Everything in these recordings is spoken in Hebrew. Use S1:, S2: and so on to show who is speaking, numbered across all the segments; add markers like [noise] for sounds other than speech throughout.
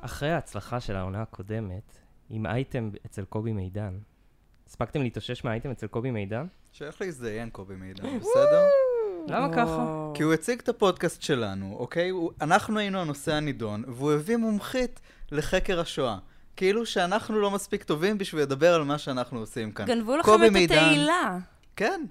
S1: אחרי ההצלחה של העונה הקודמת, עם אייטם אצל קובי מידן, הספקתם להתאושש מהאייטם אצל קובי מידן?
S2: שייך להזדיין קובי מידן, בסדר?
S1: למה ככה?
S3: אה, וואו.
S2: כי הוא הציג את הפודקאסט שלנו, אוקיי? הוא, אנחנו היינו הנושא הנידון, והוא הביא מומחית לחקר השואה. כאילו שאנחנו לא מספיק טובים בשביל לדבר על מה שאנחנו עושים כאן.
S3: גנבו לכם
S2: כן. קובי
S3: את התהילה.
S2: כן.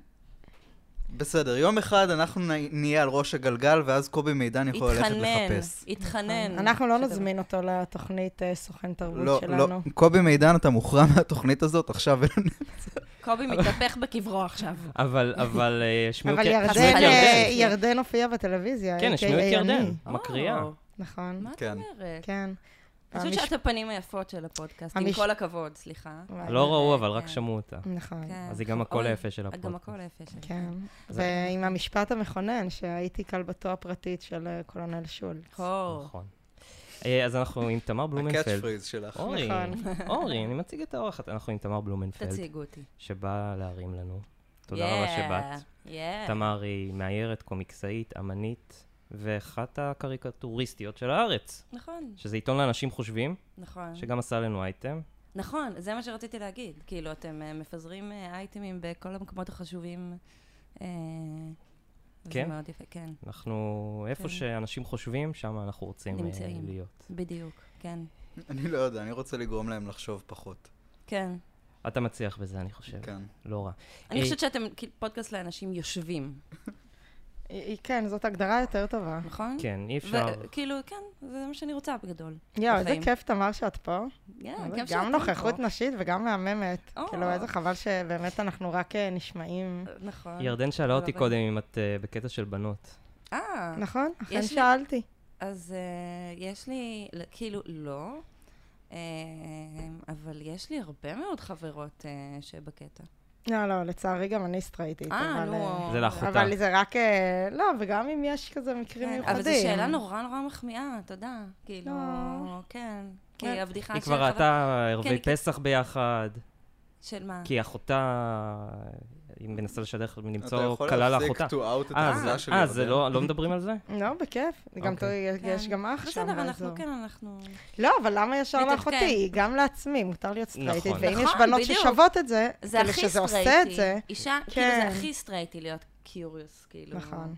S2: בסדר, יום אחד אנחנו נ- נהיה על ראש הגלגל, ואז קובי מידן יכול ללכת
S3: התחנן,
S2: לחפש.
S3: התחנן.
S4: אנחנו לא
S3: שאתה-
S4: נזמין אותו לתוכנית אה, סוכן
S2: לא,
S4: תרבות
S2: לא,
S4: שלנו.
S2: קובי מידן, אתה מוכרע מהתוכנית הזאת עכשיו.
S3: קובי מתהפך בקברו
S4: [laughs]
S3: עכשיו.
S1: אבל, אבל אה, שמעו
S4: אבל
S1: כן-
S4: ירדן,
S1: שמעו את
S4: אה,
S1: ירדן.
S4: ירדן הופיע בטלוויזיה,
S1: כן,
S4: AKA
S1: שמעו את ירדן,
S4: אני.
S1: מקריאה.
S3: או,
S4: נכון,
S3: מה את
S2: כן.
S3: אומרת?
S4: כן.
S3: פשוט
S4: המש-
S3: שאת הפנים היפות של הפודקאסט, עם
S4: המש-
S3: כל הכבוד, סליחה.
S4: וואי,
S1: לא ראו, אבל
S3: כן.
S1: רק שמעו אותה.
S4: נכון,
S3: כן.
S1: אז היא גם הקול
S3: אוי,
S1: היפה של
S3: גם
S1: הפודקאסט.
S3: הכל היפה שלי.
S4: כן.
S1: אז-
S4: ועם המשפט המכונן, שהייתי כלבתו הפרטית של אה, קולונל שולץ.
S3: קור.
S1: נכון. אה, אז אנחנו עם תמר
S2: הקאץ'
S1: בלומנפלד.
S2: פריז שלך.
S1: אורי, [laughs]
S4: נכון.
S1: אורי, אני מציג את האורחת. אנחנו עם תמר בלומנפלד,
S3: תציגו אותי.
S1: שבאה להרים לנו. תודה רבה שבאת.
S4: אה.
S3: יאה.
S1: תמר היא מאיירת, קומיקסאית, אמנית, ואחת הקריקטוריסטיות של הארץ,
S3: נכון,
S1: שזה עיתון לאנשים חושבים,
S3: נכון.
S1: שגם עשה לנו אייטם.
S3: נכון, זה מה שרציתי להגיד. כאילו, אתם אה, מפזרים אה, אייטמים בכל המקומות החשובים. אה,
S1: כן.
S3: זה מאוד יפה, כן,
S1: אנחנו, איפה
S3: כן.
S1: שאנשים חושבים, שם אנחנו רוצים אה,
S3: נמצאים.
S1: להיות.
S3: בדיוק, כן.
S2: אני לא יודע, אני רוצה לגרום להם לחשוב פחות.
S3: כן.
S1: אתה מצליח בזה, אני חושב.
S2: כן.
S1: לא רע.
S3: אני
S1: אה,
S3: חושבת שאתם כאילו, פודקאסט לאנשים יושבים,
S4: היא- היא- כן, זאת הגדרה יותר טובה.
S3: נכון?
S1: כן, אי אפשר.
S3: כאילו, כן, זה מה שאני רוצה בגדול.
S4: יואו, איזה
S3: בחיים.
S4: כיף, תמר, שאת פה.
S3: כן,
S4: אבל
S3: כיף שאתם
S4: גם נוכחות
S3: פה.
S4: נשית וגם מהממת.
S3: או.
S4: כאילו, איזה חבל שבאמת אנחנו רק אה, נשמעים.
S3: נכון.
S1: ירדן שאלה אותי
S3: אבל-
S1: קודם אם את אה, בקטע של בנות.
S3: אה,
S4: נכון? אכן
S3: לי-
S4: שאלתי.
S3: אז אה, יש לי, ל- כאילו, לא, אה, אבל יש לי הרבה מאוד חברות אה, שבקטע.
S4: לא, לא, לצערי גם אני סטרייטית.
S3: אה,
S4: אבל,
S3: נו.
S4: אה,
S1: זה לא לאחותה.
S4: אבל זה רק... אה, לא, וגם אם יש כזה מקרים
S3: כן,
S4: מיוחדים.
S3: אבל זו שאלה נורא נורא מחמיאה, תודה. כאילו,
S4: לא.
S3: כן. כי
S4: כן.
S3: הבדיחה
S1: היא
S3: של
S1: כבר
S3: חבר-
S1: ראתה
S3: כן,
S1: ערבי
S3: כן. אה.
S1: פסח ביחד,
S3: של מה?
S1: כי אחותה, היא מנסה לשדר, למצוא
S2: אתה
S1: כלה
S2: יכול
S1: לאחותה.
S2: להפסיק to out את
S1: אה,
S2: העמדה
S1: זה-
S2: של
S1: אה, זה
S2: ירדן?
S1: לא לא מדברים על זה?
S4: לא, בכיף. זה גם
S1: אוקיי.
S4: טוב, יש
S3: כן.
S4: גם אח שם.
S3: בסדר,
S4: באזור.
S3: אנחנו, כן, אנחנו...
S4: לא, אבל למה ישר
S3: מתעדכן.
S4: לאחותי? היא גם לעצמי, מותר להיות סטרייטית.
S1: נכון.
S4: ואם יש
S3: נכון,
S4: בנות
S3: בדיוק.
S4: ששוות את זה,
S3: זה
S4: כאילו
S3: הכי
S4: שזה עושה את זה,
S3: סטרייטי. אישה, כאילו, זה
S4: כן.
S3: הכי סטרייטי להיות קיוריוס, כאילו.
S4: נכון.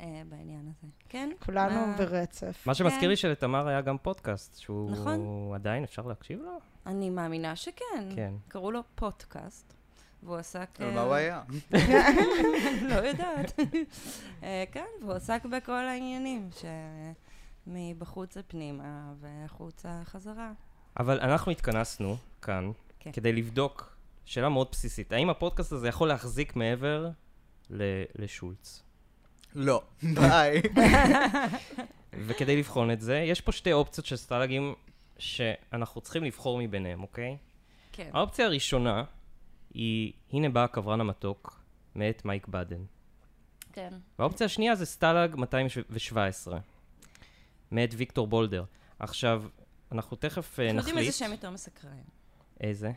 S3: אה, בעניין הזה. כן?
S4: כולנו
S3: מה-
S4: ברצף.
S1: מה שמזכיר
S3: [laughs] כן.
S1: לי שלתמר היה גם פודקאסט, שהוא
S3: נכון.
S1: עדיין אפשר להקשיב לו?
S3: אני מאמינה שכן.
S1: כן.
S3: קראו לו פודקאסט, והוא עסק...
S2: על
S4: כן.
S3: אה,
S2: מה הוא היה?
S3: [laughs] לא יודעת. [laughs] אה, כן, והוא עסק בכל העניינים, ש... מבחוץ לפנימה והחוצה חזרה.
S1: אבל אנחנו התכנסנו כאן
S3: כן.
S1: כדי לבדוק שאלה מאוד בסיסית, האם הפודקאסט הזה יכול להחזיק מעבר ל- לשולץ?
S2: לא. ביי.
S1: וכדי לבחון את זה, יש פה שתי אופציות של סטלגים שאנחנו צריכים לבחור מביניהם, אוקיי?
S3: כן.
S1: האופציה הראשונה היא, הנה בא הקברן המתוק, מאת מייק בדן.
S3: כן.
S1: והאופציה השנייה זה סטלג 217, מאת ויקטור בולדר. עכשיו, אנחנו תכף אה,
S3: אתם
S1: נחליט...
S3: יודעים איזה שם יותר מסקרן.
S1: איזה?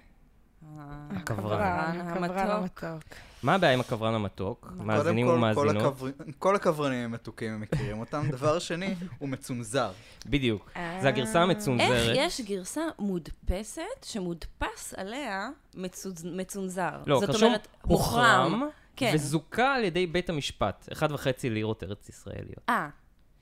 S4: הקברן, הקברן
S3: המתוק.
S4: המתוק.
S1: מה הבעיה עם הקברן המתוק? מאזינים
S2: קודם כל, כל
S1: ומאזינות?
S2: הקבר- כל הכוורנים הם מתוקים, הם מכירים אותם. דבר שני, הוא מצונזר.
S1: בדיוק. זה הגרסה
S3: אה. איך
S1: המצונזרת.
S3: יש גרסה מודפסת שמודפס עליה מצוז- מצונזר?
S1: לא,
S3: זאת
S1: כרשום
S3: אומרת,
S1: הוחרם,
S3: כן.
S1: וזוכה על ידי בית המשפט. אחד וחצי לירות ארץ ישראליות.
S3: אה,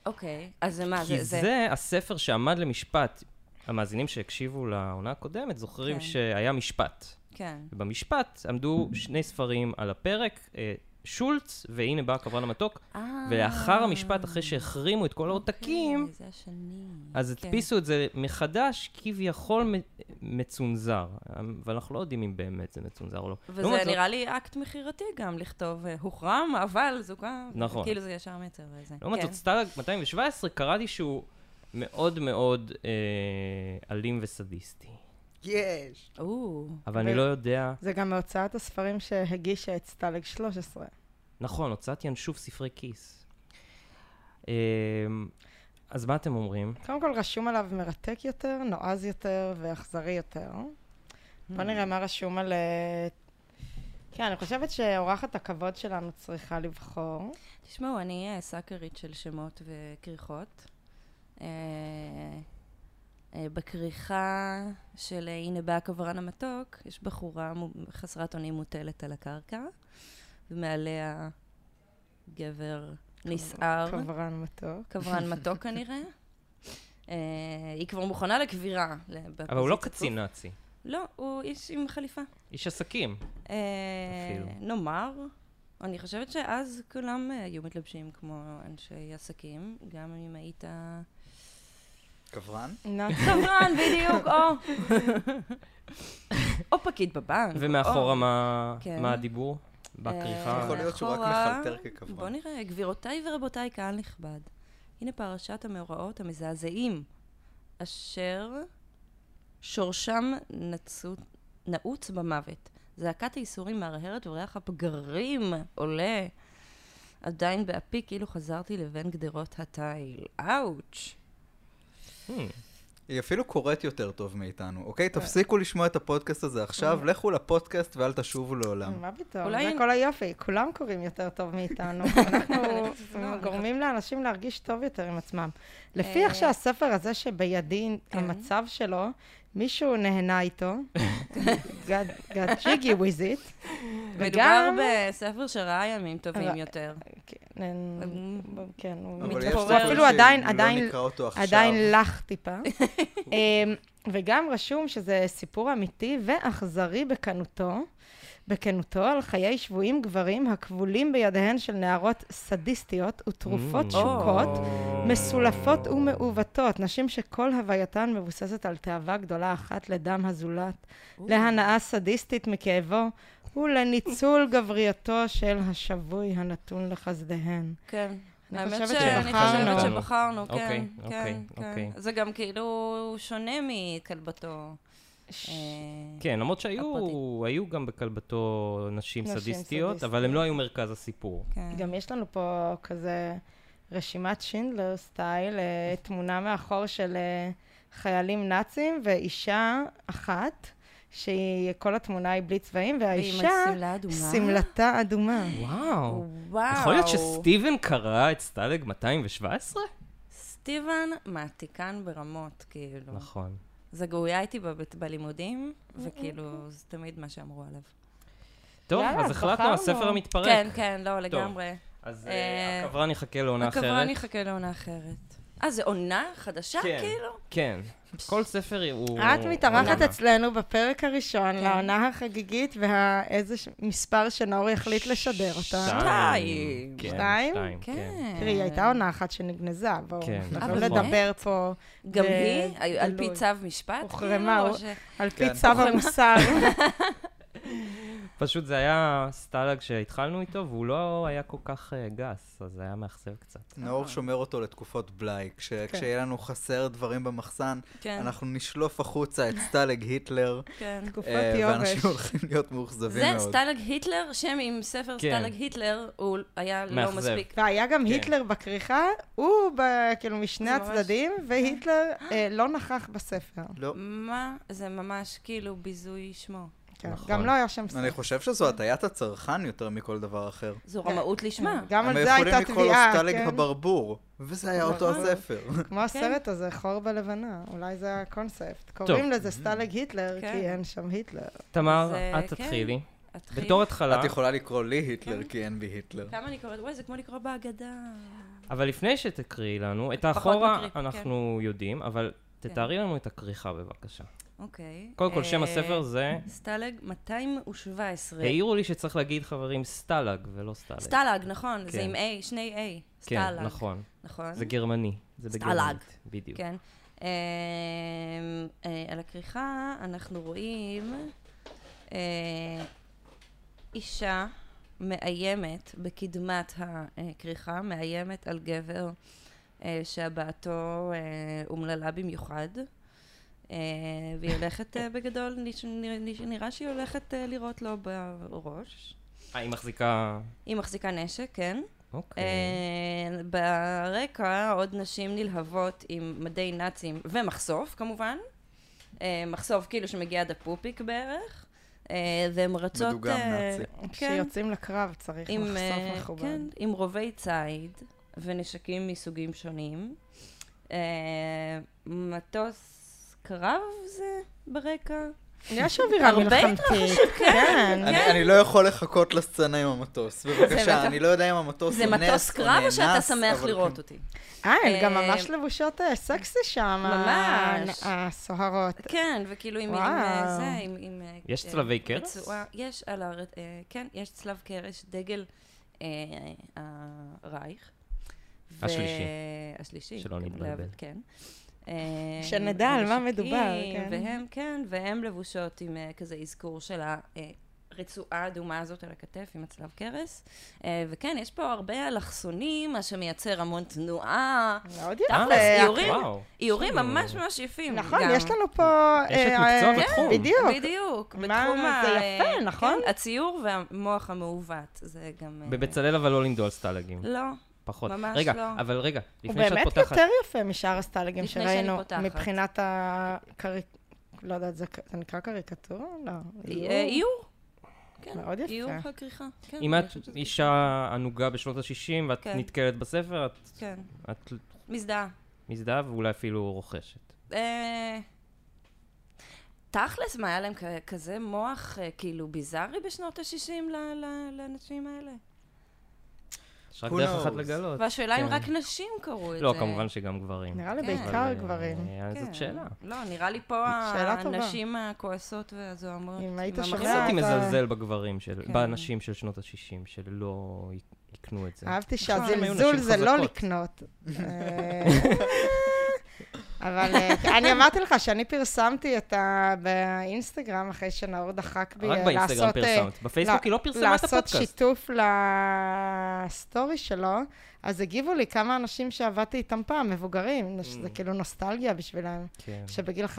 S3: אוקיי. אז זה מה,
S1: כי
S3: זה... זה-
S1: זה הספר שעמד למשפט. המאזינים שהקשיבו לעונה הקודמת זוכרים
S3: כן.
S1: שהיה משפט.
S3: כן.
S1: ובמשפט עמדו שני ספרים על הפרק, אה, שולץ, והנה בא הקברן המתוק, ולאחר המשפט, אחרי שהחרימו את כל העותקים,
S3: אה. אוקיי, זה השני.
S1: אז
S3: כן.
S1: הדפיסו את זה מחדש, כביכול מ- מצונזר. אבל אנחנו לא יודעים אם באמת זה מצונזר או לא.
S3: וזה
S1: לעומת זאת-
S3: נראה לי אקט מכירתי גם, לכתוב אה, הוחרם, אבל זוכה.
S1: נכון.
S3: כאילו זה ישר כן. מייצר איזה.
S1: לעומת זאת, סטלג 217, קראתי שהוא מאוד מאוד אה, אלים וסדיסטי.
S2: יש.
S3: או,
S1: אבל אני
S4: ו-
S1: לא יודע...
S4: זה גם מהוצאת הספרים שהגישה את סטלג 13.
S1: נכון, הוצאת ינשוף ספרי כיס. אה, אז מה אתם אומרים?
S4: קודם כל, רשום עליו מרתק יותר, נועז יותר ואכזרי יותר. בוא
S3: Mm.
S4: נראה מה רשום על... אה, כן, אני חושבת שאורחת הכבוד שלנו צריכה לבחור.
S3: תשמעו, אני אה, סאקרית של שמות וכריכות. אה, בכריכה של אה, הנה בא הכוורן המתוק, יש בחורה מו- חסרת אונים מוטלת על הקרקע, ומעליה גבר נסער,
S4: כוורן
S3: [laughs]
S4: מתוק.
S3: כוורן מתוק כנראה. אה, היא כבר מוכנה לכבירה. ל-
S1: אבל הוא לא
S3: בפוזיציה
S1: קצין נאצי,
S3: לא, הוא איש עם חליפה.
S1: איש עסקים.
S3: אה,
S1: אפילו.
S3: נאמר, אני חושבת שאז כולם אה, היו מתלבשים כמו אנשי עסקים, גם אם היית...
S2: כוון?
S4: נאצי.
S3: חברן, בדיוק, או... או פקיד בבנק.
S1: ומאחורה
S3: או-
S1: מה
S3: נכון. כן.
S1: מה הדיבור?
S3: אה,
S1: בכריכה?
S2: יכול להיות שהוא רק
S3: מאחורה-
S2: מחלטר ככוון.
S3: בוא נראה, גבירותיי ורבותיי, קהל נכבד. הנה פרשת המאורעות המזעזעים, אשר שורשם נצו- נעוץ במוות. זעקת הייסורים מהרהרת וריח הפגרים עולה עדיין באפי כאילו חזרתי לבין גדרות התיל. אאוץ'.
S1: Hmm.
S2: היא אפילו קוראת יותר טוב מאיתנו, אוקיי?
S4: כן.
S2: תפסיקו לשמוע את הפודקאסט הזה עכשיו, לכו לפודקאסט ואל תשובו לעולם.
S4: מה פתאום?
S3: אולי-
S4: זה כל היופי, כולם קוראים יותר טוב
S3: [laughs]
S4: מאיתנו.
S3: לא, אני
S4: אנחנו גורמים לאנשים להרגיש טוב יותר עם עצמם. לפי איך
S3: אה,
S4: שהספר הזה שבידי,
S3: כן.
S4: המצב שלו, מישהו
S3: [laughs]
S4: נהנה איתו, got jiggy with it,
S3: מדובר
S4: וגם...
S3: בספר שראה ימים טובים
S4: אבל-
S3: יותר.
S4: כן, אין- כן, הוא
S2: אבל יש
S4: מתפורר.
S2: ספר
S4: אפילו עדיין,
S2: שלא
S4: עדיין
S2: נקרא אותו עכשיו.
S4: עדיין לא-
S2: [laughs]
S4: לך טיפה. אמ, וגם רשום שזה סיפור אמיתי ואכזרי בכנותו, בכנותו על חיי שבויים גברים הכבולים בידיהן של נערות סדיסטיות
S1: Mm. Oh.
S4: ותרופות שוקות,
S1: או.
S4: מסולפות ומעוותות, נשים שכל הווייתן מבוססת על תאווה גדולה אחת לדם הזולת, להנאה סדיסטית מכאבו ולניצול גבריותו של השבוי הנתון לחסדיהן.
S3: כן.
S4: אני
S3: האמת
S4: חושבת
S3: שאני
S4: שבחרנו.
S3: חושבת שבחרנו, כן,
S1: אוקיי,
S3: כן,
S1: אוקיי,
S3: כן.
S1: אוקיי.
S3: זה גם כאילו שונה מכלבתו. אה,
S1: כן, למרות שהיו היו גם בכלבתו נשים
S4: נשים
S1: סדיסטיות, אבל
S4: סדיסטיות.
S1: הן לא היו מרכז הסיפור.
S3: כן.
S4: גם יש לנו פה כזה רשימת שינדלר סטייל, אה, תמונה מאחור של אה, חיילים נאצים ואישה אחת, שהיא, כל התמונה היא בלי צבעים,
S3: ועם
S4: והאישה,
S3: השמלה האדומה.
S4: שמלתה אדומה.
S1: וואו.
S3: וואו.
S1: יכול להיות שסטיבן קרא את סטלג 217?
S3: סטיבן מעתיקן ברמות, כאילו.
S1: נכון.
S3: זה גאויה איתי בבית- בלימודים, וכאילו, זה תמיד מה שאמרו עליו.
S1: טוב,
S4: יאללה,
S1: אז
S4: אז
S1: החלטנו,
S4: בחרנו.
S1: הספר המתפרק.
S3: כן, כן, לא, לגמרי.
S1: אז
S3: אה,
S1: אה, הכוורן יחכה לעונה אחרת.
S3: הכוונה אני אחכה לעונה אחרת. אה, זה עונה חדשה,
S1: כן.
S3: כאילו?
S1: כן. כל ספר הוא...
S4: את מתארחת
S1: עונה.
S4: אצלנו בפרק הראשון, לעונה החגיגית ואיזה מספר שנאור יחליט לשדר אותה.
S1: שתיים. כן,
S4: שתיים?
S1: שתיים, כן.
S3: כן.
S4: תראי, הייתה עונה אחת שנגנזה, בואו.
S1: כן,
S4: אנחנו לא
S3: אבל
S4: נדבר פה
S3: גם
S4: ב-
S3: היא? על פי
S4: גלוי.
S3: צו משפט?
S4: הוחרמה,
S3: כאילו, או
S4: הוא-
S3: ש-
S4: על פי
S2: כן.
S4: צו
S3: [laughs]
S4: המוסר.
S3: אה,
S1: כן. פשוט זה היה סטלג שהתחלנו איתו, והוא לא היה כל כך אה, גס, אז זה היה מאכזב קצת.
S2: נאור שומר אותו לתקופות בלאי. כש-
S4: כן.
S2: כשיהיה לנו חסר דברים במחסן,
S3: כן,
S2: אנחנו נשלוף החוצה את סטלג היטלר,
S3: כן.
S4: תקופות
S2: אה,
S4: יובש.
S2: ואנשים הולכים להיות מאוכזבים
S3: זה
S2: מאוד.
S3: סטלג היטלר, שם עם ספר
S1: כן.
S3: סטלג היטלר, הוא היה לא
S1: מאכזב.
S3: מספיק.
S4: והיה גם
S1: כן.
S4: היטלר בכריכה, הוא ב- כאילו משני
S3: זה ממש- כן.
S4: הצדדים, והיטלר אה, לא נכח בספר.
S2: לא,
S3: מה? זה ממש כאילו ביזוי שמו.
S4: כן,
S1: נכון.
S4: גם לא היה שם
S2: אני
S4: ספר.
S2: חושב שזו הטיית הצרכן יותר מכל דבר אחר.
S3: זו
S4: כן.
S3: רמאות לשמה.
S4: גם על
S2: הם
S4: זה הייתה
S2: יכולים לקרוא לו
S4: תביעה,
S2: סטלג
S4: כן?
S2: הברבור, וזה היה אותו
S4: נכון.
S2: הספר.
S1: אה?
S3: כן.
S4: כמו הסרט הזה, חור בלבנה, אולי זה הקונספט. קוראים לזה
S1: Mm.
S4: סטלג היטלר,
S3: כן.
S4: כי אין שם היטלר.
S1: תמר,
S3: אה,
S1: את
S3: כן.
S1: תתחילי.
S3: התחיל-
S1: בתור התחלה,
S2: את יכולה לקרוא לי היטלר, כי אין בי היטלר.
S3: כמה אני קוראת? וואי, זה כמו לקרוא בהגדה.
S1: אבל לפני שתקריאי לנו, את
S3: פחות
S1: האחורה
S3: מקריא, כן.
S1: אנחנו יודעים, אבל תתארי לנו את הכריכה בבקשה.
S3: אוקיי.
S1: קודם כל, שם
S3: אה,
S1: הספר זה...
S3: סטלג 217.
S1: העירו לי שצריך להגיד, חברים, סטלג ולא סטלג.
S3: סטלג, נכון, זה
S1: כן.
S3: עם A, שני A.
S1: כן,
S3: סטלג.
S1: נכון.
S3: נכון.
S1: זה גרמני. זה
S3: סטלג.
S1: בגרמנית. בדיוק.
S3: כן. אמ, אה, על הכריכה אנחנו רואים אה, אישה מאיימת בקדמת הכריכה, מאיימת על גבר אה, שהבעתו אה, אומללה במיוחד. אה, והיא הולכת אה, בגדול, נש- נראה- נראה שהיא הולכת אה, לירות לו בראש.
S1: אה, היא מחזיקה...
S3: היא מחזיקה נשק, כן.
S1: אוקיי.
S3: אה, ברקע עוד נשים נלהבות עם מדי נאצים ומחשוף כמובן. אה, מחשוף כאילו שמגיע עד הפופיק בערך. אה, והן רצות...
S2: מדוגם
S3: אה,
S2: נאצי.
S3: כן,
S4: כשיוצאים לקרב צריך
S3: עם,
S4: מחשוף
S3: אה,
S4: מכובד.
S3: כן, עם רובי ציד ונשקים מסוגים שונים. אה, מטוס קרב זה ברקע?
S4: יש אווירה
S3: הרבה
S4: מלחמתית. כן.
S2: אני, אני לא יכול לחכות לסצנה עם המטוס. בבקשה,
S3: בטח.
S2: אני לא יודע אם המטוס
S3: זה
S2: הוא נס
S3: מטוס
S2: או
S3: קרב או שאתה
S2: נאנס,
S3: שמח
S2: אבל
S3: לראות
S2: כן.
S3: אותי?
S4: אה, הן גם
S3: אה,
S4: ממש לבושות אה, סקסי שם. ה-
S3: ממש.
S4: הסוהרות.
S3: כן, וכאילו עם עם,
S4: וואו.
S3: אה, זה, עם... עם, אה,
S1: יש
S3: אה,
S1: צלבי קרס?
S3: רצועה- יש על הר... אה, כן, יש צלב קרס, דגל אה, הרייך. ו-
S1: השלישי.
S3: השלישי.
S1: שלא
S3: גם
S1: נתבלבל.
S3: להבד- כן. אה,
S4: שנדע על מה
S3: ונשקים,
S4: מדובר, כן.
S3: והם, כן, והם לבושות עם אה, כזה אזכור של הרצועה האדומה הזאת על הכתף עם הצלב קרס. אה, וכן, יש פה הרבה אלכסונים, מה שמייצר המון תנועה.
S4: מאוד
S1: אה,
S4: יפה.
S3: תכלס, איורים,
S1: וואו.
S3: איורים
S1: כאילו,
S3: ממש ממש יפים.
S4: נכון,
S3: גם.
S4: יש לנו פה...
S1: יש את
S4: אה,
S1: מקצוע
S4: אה,
S1: בתחום.
S4: בדיוק.
S3: בדיוק,
S4: מה-
S3: בתחום ה...
S4: זה יפה, נכון?
S3: כן, הציור והמוח המעוות, זה גם... אה,
S1: בבצלאל אבל לא לימדו על סטלגים.
S3: לא,
S1: פחות.
S3: ממש
S1: רגע,
S3: לא.
S1: אבל רגע,
S4: הוא
S1: לפני שאת
S4: באמת
S1: פותחת...
S4: יותר יפה משאר הסטלגים
S3: לפני שאני
S4: שראינו.
S3: פותחת.
S4: מבחינת הקריק... לא יודעת, זה ק- זה נקרא קריקטורה? לא.
S3: אה, איור. כן,
S4: מאוד יפה.
S3: איור הכריכה. כן,
S1: אם
S3: אני
S1: את
S3: חושבת שזה-
S1: אישה ענוגה בשנות ה-60 ואת
S3: כן.
S1: נתקלת בספר, את-
S3: כן,
S1: את
S3: מזדהה.
S1: מזדהה ואולי אפילו רוכשת.
S3: אה, תכלס, מה, היה להם כ- כזה מוח אה, כאילו ביזארי בשנות ה-60 לאנשים האלה?
S1: יש רק
S2: Who
S1: דרך אחת
S2: knows?
S1: לגלות.
S3: והשאלה אם
S1: כן.
S3: רק נשים קראו את זה.
S1: לא, כמובן שגם גברים.
S4: נראה לי
S3: כן.
S4: בעיקר
S1: אבל,
S4: גברים.
S1: אה,
S3: כן.
S1: זאת שאלה.
S3: לא, נראה לי פה
S4: שאלה טובה.
S3: הנשים הכועסות והזוהמות.
S4: אם היית
S3: עם
S4: שומע-
S1: איך
S3: המחזות.
S1: אותי
S4: אתה-
S1: מזלזל בגברים, של-
S3: כן.
S1: בנשים של שנות ה-60, שלא יק- יקנו את זה.
S4: אהבתי
S1: נכון. הם היו
S4: שהזלזול
S1: נשים
S4: זה לא
S1: חזקות. [laughs]
S4: לקנות. אה, אבל אה, אני אמרתי לך שאני פרסמתי את ה... באינסטגרם אחרי שנאור דחק בי
S1: רק
S4: אה,
S1: באינסטגרם
S4: לעשות, אה,
S1: פרסמת. בפייסבוק היא לא פרסמה את
S4: לעשות
S1: הפודקאסט.
S4: שיתוף לסטורי שלו, אז הגיבו לי כמה אנשים שעבדתי איתם פעם, מבוגרים, שזה כאילו נוסטלגיה בשבילם,
S1: Mm. כן.
S4: שבגיל 15-16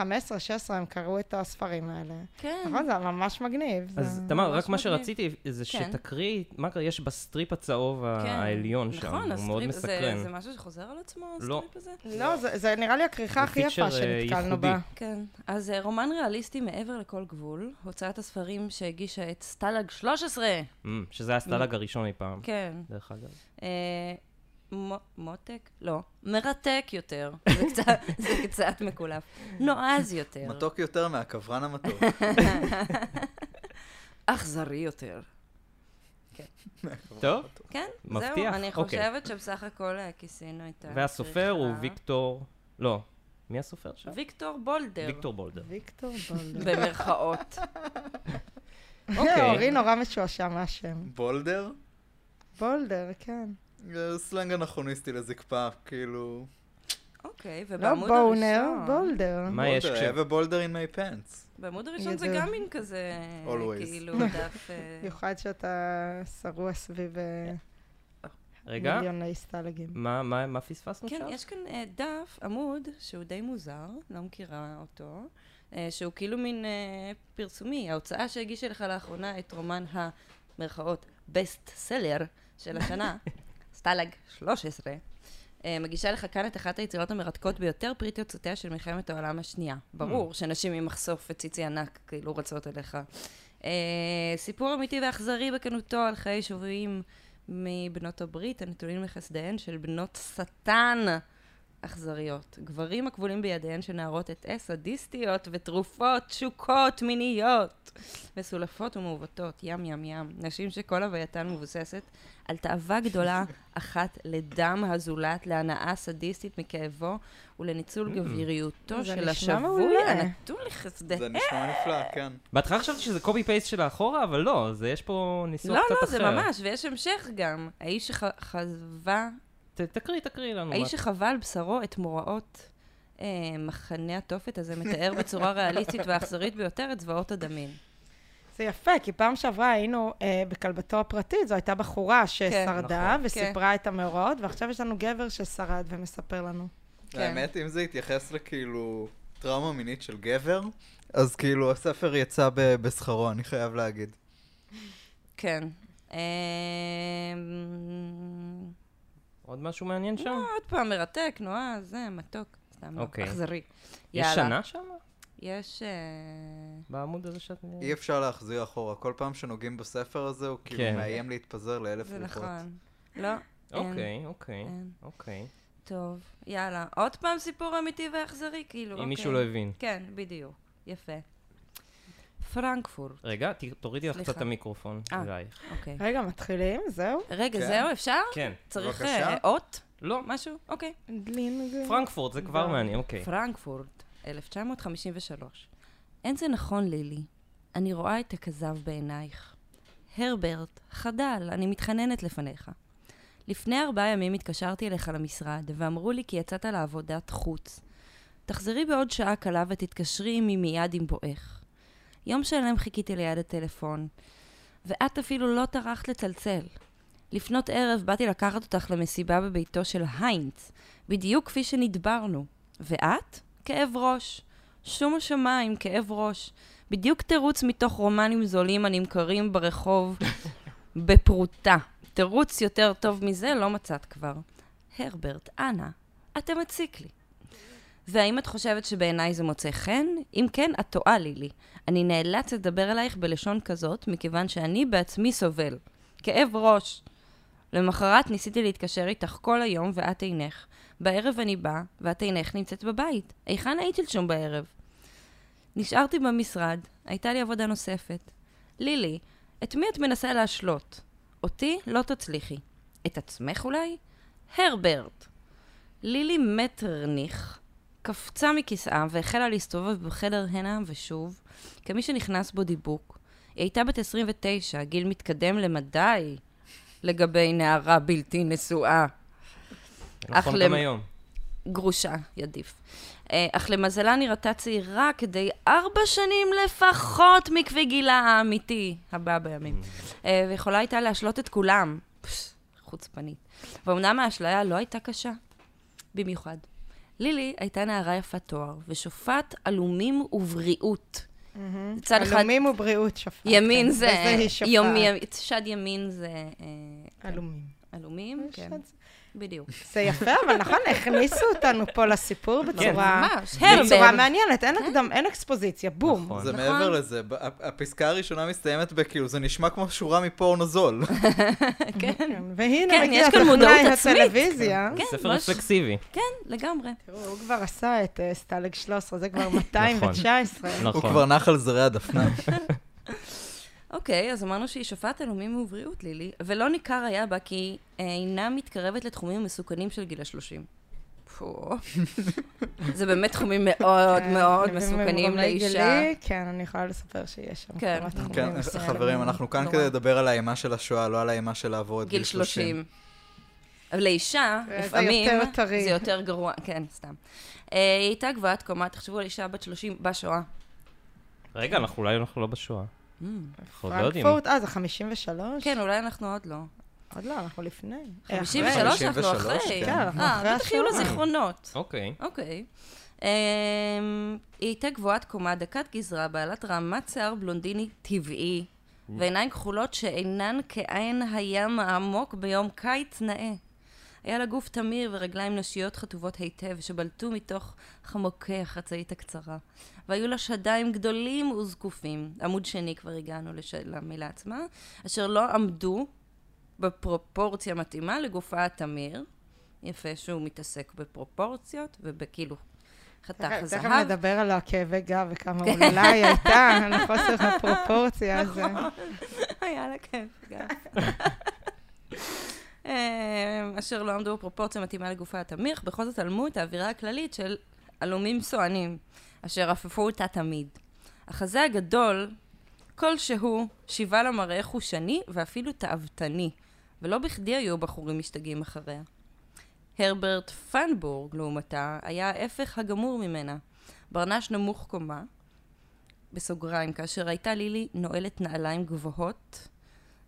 S4: הם קראו את הספרים האלה.
S3: כן.
S4: נכון, זה ממש מגניב. זה-
S1: אז תמר,
S3: ממש
S1: רק מה
S3: מגניב.
S1: שרציתי זה
S3: כן.
S1: שתקריאי, מה קרה? יש בסטריפ הצהוב ה-
S3: כן.
S1: העליון שם,
S3: נכון,
S1: הוא מאוד
S3: הסטריפ- זה-
S1: מסקרן.
S3: זה משהו שחוזר על עצמו,
S1: לא.
S3: הסטריפ הזה?
S4: לא, זה זה נראה לי הכריכה
S1: זה
S4: הכי יפה
S1: פיצ'ר, אה,
S4: שנתקלנו
S1: ייחודי.
S4: בה.
S3: כן. אז אה, רומן ריאליסטי מעבר לכל גבול, הוצאת הספרים שהגישה את סטלג 13.
S1: אמ, שזה הסטלג הראשון אי פעם,
S3: כן.
S1: דרך אגב.
S3: אה, מ- מותק? לא. מרתק יותר.
S1: [laughs]
S3: זה קצת- זה קצת מקולף. נועז יותר.
S2: מתוק יותר מהקברן המתוק.
S3: אכזרי יותר.
S1: טוב,
S3: כן, זהו.
S1: מבטיח?
S3: אני
S1: אוקיי.
S3: חושבת שבסך הכל אה, כיסינו את ה...
S1: והסופר הוא
S3: צריכה.
S1: ויקטור... לא, מי הסופר שם?
S3: ויקטור בולדר.
S1: ויקטור בולדר.
S4: [laughs] ויקטור בולדר.
S3: במרכאות.
S1: אוקיי.
S4: אורי נורא משועשע מהשם.
S2: בולדר?
S4: בולדר, כן.
S2: זה סלנג אנכרוניסטי לזקפה, כאילו...
S3: אוקיי,
S4: לא
S3: ובעמוד
S4: בונר,
S3: הראשון...
S4: בולדר.
S1: מה יש
S2: בולדר, היה
S1: כש...
S2: בבולדר in my pants.
S3: בעמוד הראשון זה
S4: ידוע.
S3: גם מין כזה,
S2: Always.
S3: כאילו, דף...
S4: [laughs]
S3: אה,
S4: במיוחד שאתה שרוע סביב אה,
S1: רגע,
S4: מיליוני סטלגים.
S1: מה- מה מה פספסנו
S3: כן,
S1: שם?
S3: יש כאן אה, דף, עמוד, שהוא די מוזר, לא מכירה אותו, אה, שהוא כאילו מין אה, פרסומי. ההוצאה שהגישה לך לאחרונה את רומן המרכאות בסט סלר של השנה, סטלג 13, אה, מגישה לך כאן את אחת היצירות המרתקות ביותר פרי תוצאותיה של מלחמת העולם השנייה. ברור שנשים עם מחשוף וציצי ענק כאילו רצות אליך. אה, סיפור אמיתי ואכזרי בכנותו על חיי יישובים מבנות הברית, הנתונים לחסדיהן של בנות שטן אכזריות. גברים הכבולים בידיהן של נערות את עס סדיסטיות ותרופות, תשוקות מיניות, מסולפות ומעוותות, ים ים ים. נשים שכל הווייתן מבוססת על תאווה גדולה אחת לדם הזולת, להנאה סדיסטית מכאבו ולניצול גבריותו
S4: זה
S3: של
S4: נשמע
S3: השבוי
S4: מעולה.
S3: הנתון לחסדיהן.
S2: זה נשמע נפלא, כן.
S1: בהתחלה חשבתי שזה קובי פייסט של האחורה, אבל לא, זה יש פה ניסוח
S3: לא,
S1: קצת
S3: לא,
S1: אחר.
S3: זה ממש, ויש המשך גם. האיש שחווה
S1: ת- תקריא, תקריא לנו.
S3: האיש שחווה על בשרו את מוראות אה, מחנה התופת הזה מתאר בצורה ריאליסטית והאכזרית ביותר את זוועות הדמים.
S4: זה יפה, כי פעם שעברה היינו אה, בכלבתו הפרטית, זו הייתה
S3: כן.
S4: בחורה ששרדה
S1: נכון.
S4: וסיפרה את המאורעות, ועכשיו יש לנו גבר ששרד ומספר לנו.
S3: כן.
S2: האמת, אם זה יתייחס לכאילו טראומה מינית של גבר, אז כאילו הספר יצא ב- בשכרו, אני חייב להגיד.
S3: כן. אה,
S1: עוד משהו מעניין שם?
S3: עוד פעם מרתק, נועה, זה, מתוק. סתם, לא,
S1: אוקיי.
S3: אכזרי.
S1: יש
S3: יאללה.
S1: שנה שם?
S3: יש... אה,
S1: בעמוד הזה שאת...
S3: כן.
S2: אי אפשר להחזיר אחורה, כל פעם שנוגעים בספר הזה, הוא כאילו
S1: כן.
S2: מאיים להתפזר לאלף
S3: זה
S2: רוחות.
S3: נכון. לא, אין.
S1: אוקיי, אוקיי,
S3: אין.
S1: אוקיי.
S3: טוב, יאללה. עוד פעם סיפור אמיתי ואכזרי, כאילו,
S1: אם מישהו לא הבין.
S3: כן, בדיוק. יפה. פרנקפורט.
S1: רגע, ת- תורידי לך
S3: סליחה.
S1: קצת את המיקרופון
S3: אה.
S1: אלייך.
S3: אוקיי.
S4: רגע, מתחילים? זהו?
S3: רגע,
S2: כן.
S3: זהו, אפשר?
S1: כן.
S3: צריך
S2: בבקשה.
S3: אה, אות?
S1: לא,
S3: משהו? אוקיי.
S4: דלין זה...
S1: פרנקפורט זה כבר
S4: לא.
S1: מעניין, אוקיי.
S3: פרנקפורט, 1953. אין זה נכון, לילי. אני רואה את הכזב בעינייך. הרברט, חדל, אני מתחננת לפניך. לפני ארבעה ימים התקשרתי אליך למשרד, ואמרו לי כי יצאת לעבודת חוץ. תחזרי בעוד שעה קלה ותתקשרי עמי מיד עם בואך. יום שלם חיכיתי ליד הטלפון, ואת אפילו לא טרחת לצלצל. לפנות ערב באתי לקחת אותך למסיבה בביתו של היינץ, בדיוק כפי שנדברנו. ואת? כאב ראש. שום השמיים, כאב ראש. בדיוק תירוץ מתוך רומנים זולים הנמכרים ברחוב בפרוטה. תירוץ יותר טוב מזה לא מצאת כבר. הרברט, אנא, אתה מציק לי. והאם את חושבת שבעיניי זה מוצא חן? אם כן, את טועה, לילי. אני נאלץ לדבר אלייך בלשון כזאת, מכיוון שאני בעצמי סובל. כאב ראש. למחרת ניסיתי להתקשר איתך כל היום ואת אינך. בערב אני באה, ואת אינך נמצאת בבית. היכן היית שלשום בערב? נשארתי במשרד, הייתה לי עבודה נוספת. לילי, את מי את מנסה להשלות? אותי לא תצליחי. את עצמך אולי? הרברט. לילי מטרניך קפצה מכיסאה והחלה להסתובב בחדר הנה ושוב, כמי שנכנס בו דיבוק. היא הייתה בת 29, גיל מתקדם למדי לגבי נערה בלתי נשואה.
S1: נכון
S3: אך
S1: גם
S3: למ-
S1: היום.
S3: גרושה, ידיף. אה, אך למזלה נראתה צעירה כדי ארבע שנים לפחות מכפי גילה האמיתי, הבא בימים.
S4: Mm.
S3: אה, ויכולה הייתה להשלות את כולם. פש, חוצפנית. ואומנם האשליה לא הייתה קשה, במיוחד. לילי הייתה נערה יפת תואר, ושופעת עלומים ובריאות. מצד אחד-
S4: עלומים ובריאות שפעת.
S3: ימין
S4: כן,
S3: זה...
S4: בזה היא שפעת.
S3: יומי- שד ימין זה... אה,
S4: עלומים.
S3: עלומים, כן,
S4: אה, שד-
S3: בדיוק.
S4: זה יפה, אבל נכון, הכניסו אותנו פה לסיפור
S3: כן.
S4: בצורה...
S3: ממש,
S4: אה, בצורה
S3: הרברט.
S4: מעניינת, אין הקדם, אין אקספוזיציה, בום.
S1: נכון.
S2: זה
S3: אה? נכון.
S2: מעבר לזה, ב- הפ- הפסקה הראשונה מסתיימת בכאילו, זה נשמע כמו שורה מפורנו זול.
S4: כן, והנה
S3: כן,
S4: מגיע
S3: יש כאן
S4: טכנאי
S3: מודעות עצמית.
S4: הטלוויזיה.
S3: כן,
S1: ספר
S3: ממש.
S1: רפלקסיבי.
S3: לגמרי.
S4: תראו, הוא כבר עשה את אה, סטלג 13, זה
S3: נכון.
S4: כבר 219.
S2: הוא
S1: נכון.
S2: כבר נח על זרי
S3: [laughs]
S2: הדפנה.
S3: אוקיי, אז אמרנו שהיא שופעת עלומים ובריאות, לילי, ולא ניכר היה בה כי אה, אינה מתקרבת לתחומים המסוכנים של גיל השלושים.
S4: [laughs]
S3: פו. זה באמת תחומים מאוד
S4: כן,
S3: מאוד
S4: וממרומי
S3: מסוכנים לאישה.
S4: גילי, כן, אני יכולה לספר שיש שם
S3: כן.
S4: כמה תחומים.
S2: כן,
S4: מסוימים.
S2: חברים, אנחנו כאן
S3: נורא.
S2: כדי לדבר על האימה של השואה, לא על האימה של לעבור את
S3: גיל
S2: גיל 30.
S3: 30. אבל לאישה,
S4: זה
S3: לפעמים,
S4: יותר טרי.
S3: זה יותר גרוע, כן, סתם. אה, היא הייתה גבוהת קומה, תחשבו על אישה בת 30 בשואה.
S1: רגע, אנחנו אולי אנחנו לא בשואה.
S4: Mm.
S1: אנחנו עוד לא יודעים.
S4: פרנקפורט, אה, זה 53?
S3: כן, אולי אנחנו עוד לא.
S4: עוד לא, אנחנו לפני. אה,
S3: 53 אנחנו
S2: 53,
S3: אחרי.
S2: כן.
S4: כן, אנחנו
S3: אה,
S4: אחרי
S3: בטח יהיו לה
S4: השואה.
S3: זיכרונות.
S1: אוקיי.
S3: אוקיי. אמ, היא הייתה גבוהת קומה, דקת גזרה, בעלת רעמת שיער בלונדיני טבעי, ועיניים כחולות שאינן כעין הים העמוק ביום קיץ נאה. היה לה גוף תמיר ורגליים נשיות חטובות היטב, שבלטו מתוך חמוקי החצאית הקצרה. והיו לה שדיים גדולים וזקופים, עמוד שני כבר הגענו לש... למילה עצמה, אשר לא עמדו בפרופורציה מתאימה לגופה התמיר. יפה שהוא מתעסק בפרופורציות ובכאילו חתך
S4: תכף- תכף
S3: הזהב.
S4: נדבר על הכאבי גב וכמה
S3: כן.
S4: אולי הייתה, על חוסר
S3: [laughs]
S4: הפרופורציה הזה.
S3: נכון. היה לה כיף גם. אמ, אשר לא עמדו בפרופורציה מתאימה לגופה התמיך, בכל זאת עלמו את האווירה הכללית של עלומים סואנים, אשר עפפו אותה תמיד. החזה הגדול, כלשהו, שיווה לה מראה חושני ואפילו תאוותני, ולא בכדי היו בחורים משתגעים אחריה. הרברט פנבורג, לעומתה, היה ההפך הגמור ממנה. ברנש נמוך קומה, בסוגריים, כאשר הייתה לילי נועלת נעליים גבוהות,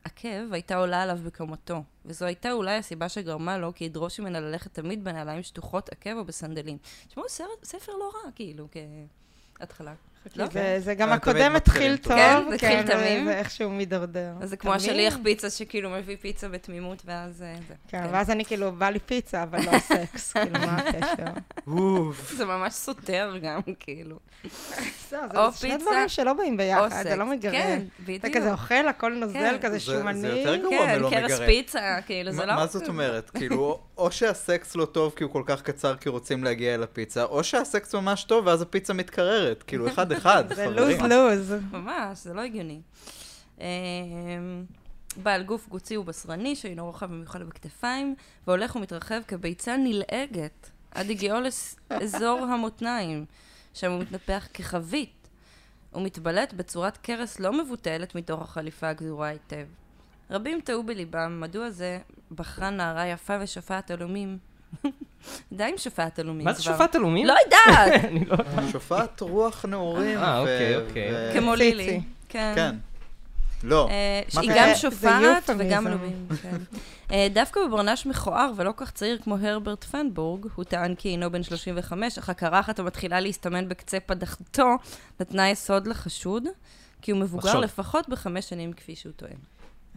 S3: עקב הייתה עולה עליו בקומתו, וזו הייתה אולי הסיבה שגרמה לו כי ידרוש ממנה ללכת תמיד בנעליים שטוחות עקב או בסנדלים. תשמעו, סרט- ספר לא רע, כאילו, כהתחלה. לא?
S4: זה- זה גם
S2: אה, תמיד
S4: הקודם
S2: מתחילים
S4: התחיל
S2: טוב.
S4: טוב,
S3: כן, זה התחיל
S4: אבל
S3: תמים.
S4: זה איכשהו מידרדר.
S3: אז זה כמו
S4: תמים?
S3: השליח פיצה שכאילו מביא פיצה בתמימות, ואז אה, זה. [laughs]
S4: כן, ואז אני כאילו, בא לי פיצה, אבל לא סקס, כאילו, מה הקשר?
S2: אוף.
S3: זה ממש סותר גם, כאילו.
S4: זהו, זה
S3: או
S4: שני
S3: פיצה,
S4: דברים שלא באים
S3: או
S4: ביחד, זה
S3: סקס.
S4: לא מגרד.
S3: כן,
S4: אתה
S3: בדיוק.
S4: כזה אוכל, הכל נוזל,
S3: כן.
S4: כזה
S2: זה- זה
S4: שומני.
S2: יותר גרוע.
S3: כן,
S2: ולא
S3: קרס
S2: מגרד.
S3: פיצה, כאילו, זה
S2: לא מה-
S3: לא...
S2: מה זאת אומרת? כאילו, או שהסקס לא טוב כי הוא כל כך קצר כי רוצים להגיע אל הפיצה, או שהסקס ממש טוב ואז הפיצה מתקררת.
S3: [laughs]
S2: כאילו, אחד-אחד,
S4: זה
S2: חברים.
S4: לוז-לוז.
S3: ממש, זה לא הגיוני. אמ, בעל גוף גוצי ובשרני, שאינו רוחב במיוחד בכתפיים, והולך ומתרחב כביצה נלעגת, עד הגיעו לאזור המותניים, שם הוא מתנפח כחבית. הוא מתבלט בצורת קרס לא מבוטלת מתוך החליפה הגזורה היטב. רבים טעו בליבם מדוע זה בחרה נערה יפה ושופעת עלומים. [laughs] די עם שופעת עלומים
S1: מה
S3: כבר.
S1: זה שופט עלומים?
S3: לא
S1: [laughs]
S3: יודעת!
S1: אני לא...
S2: שופעת רוח נעורים.
S1: אה,
S2: ו-
S1: אוקיי, אוקיי.
S2: ו-
S3: כמו
S4: ציצי.
S3: לילי.
S2: כן. לא.
S3: אה,
S2: מה
S3: היא
S2: קרה?
S3: גם
S4: זה
S3: שופעת
S4: יופמיזם.
S3: וגם אלומים, כן. אה, דווקא בברנש מכוער ולא כל כך צעיר כמו הרברט פנבורג, הוא טען כי הינו בן 35, אך הקרחת המתחילה להסתמן בקצה פדחתו נתנה יסוד לחשוד, כי הוא מבוגר
S1: לחשוד.
S3: לפחות בחמש שנים כפי שהוא טוען.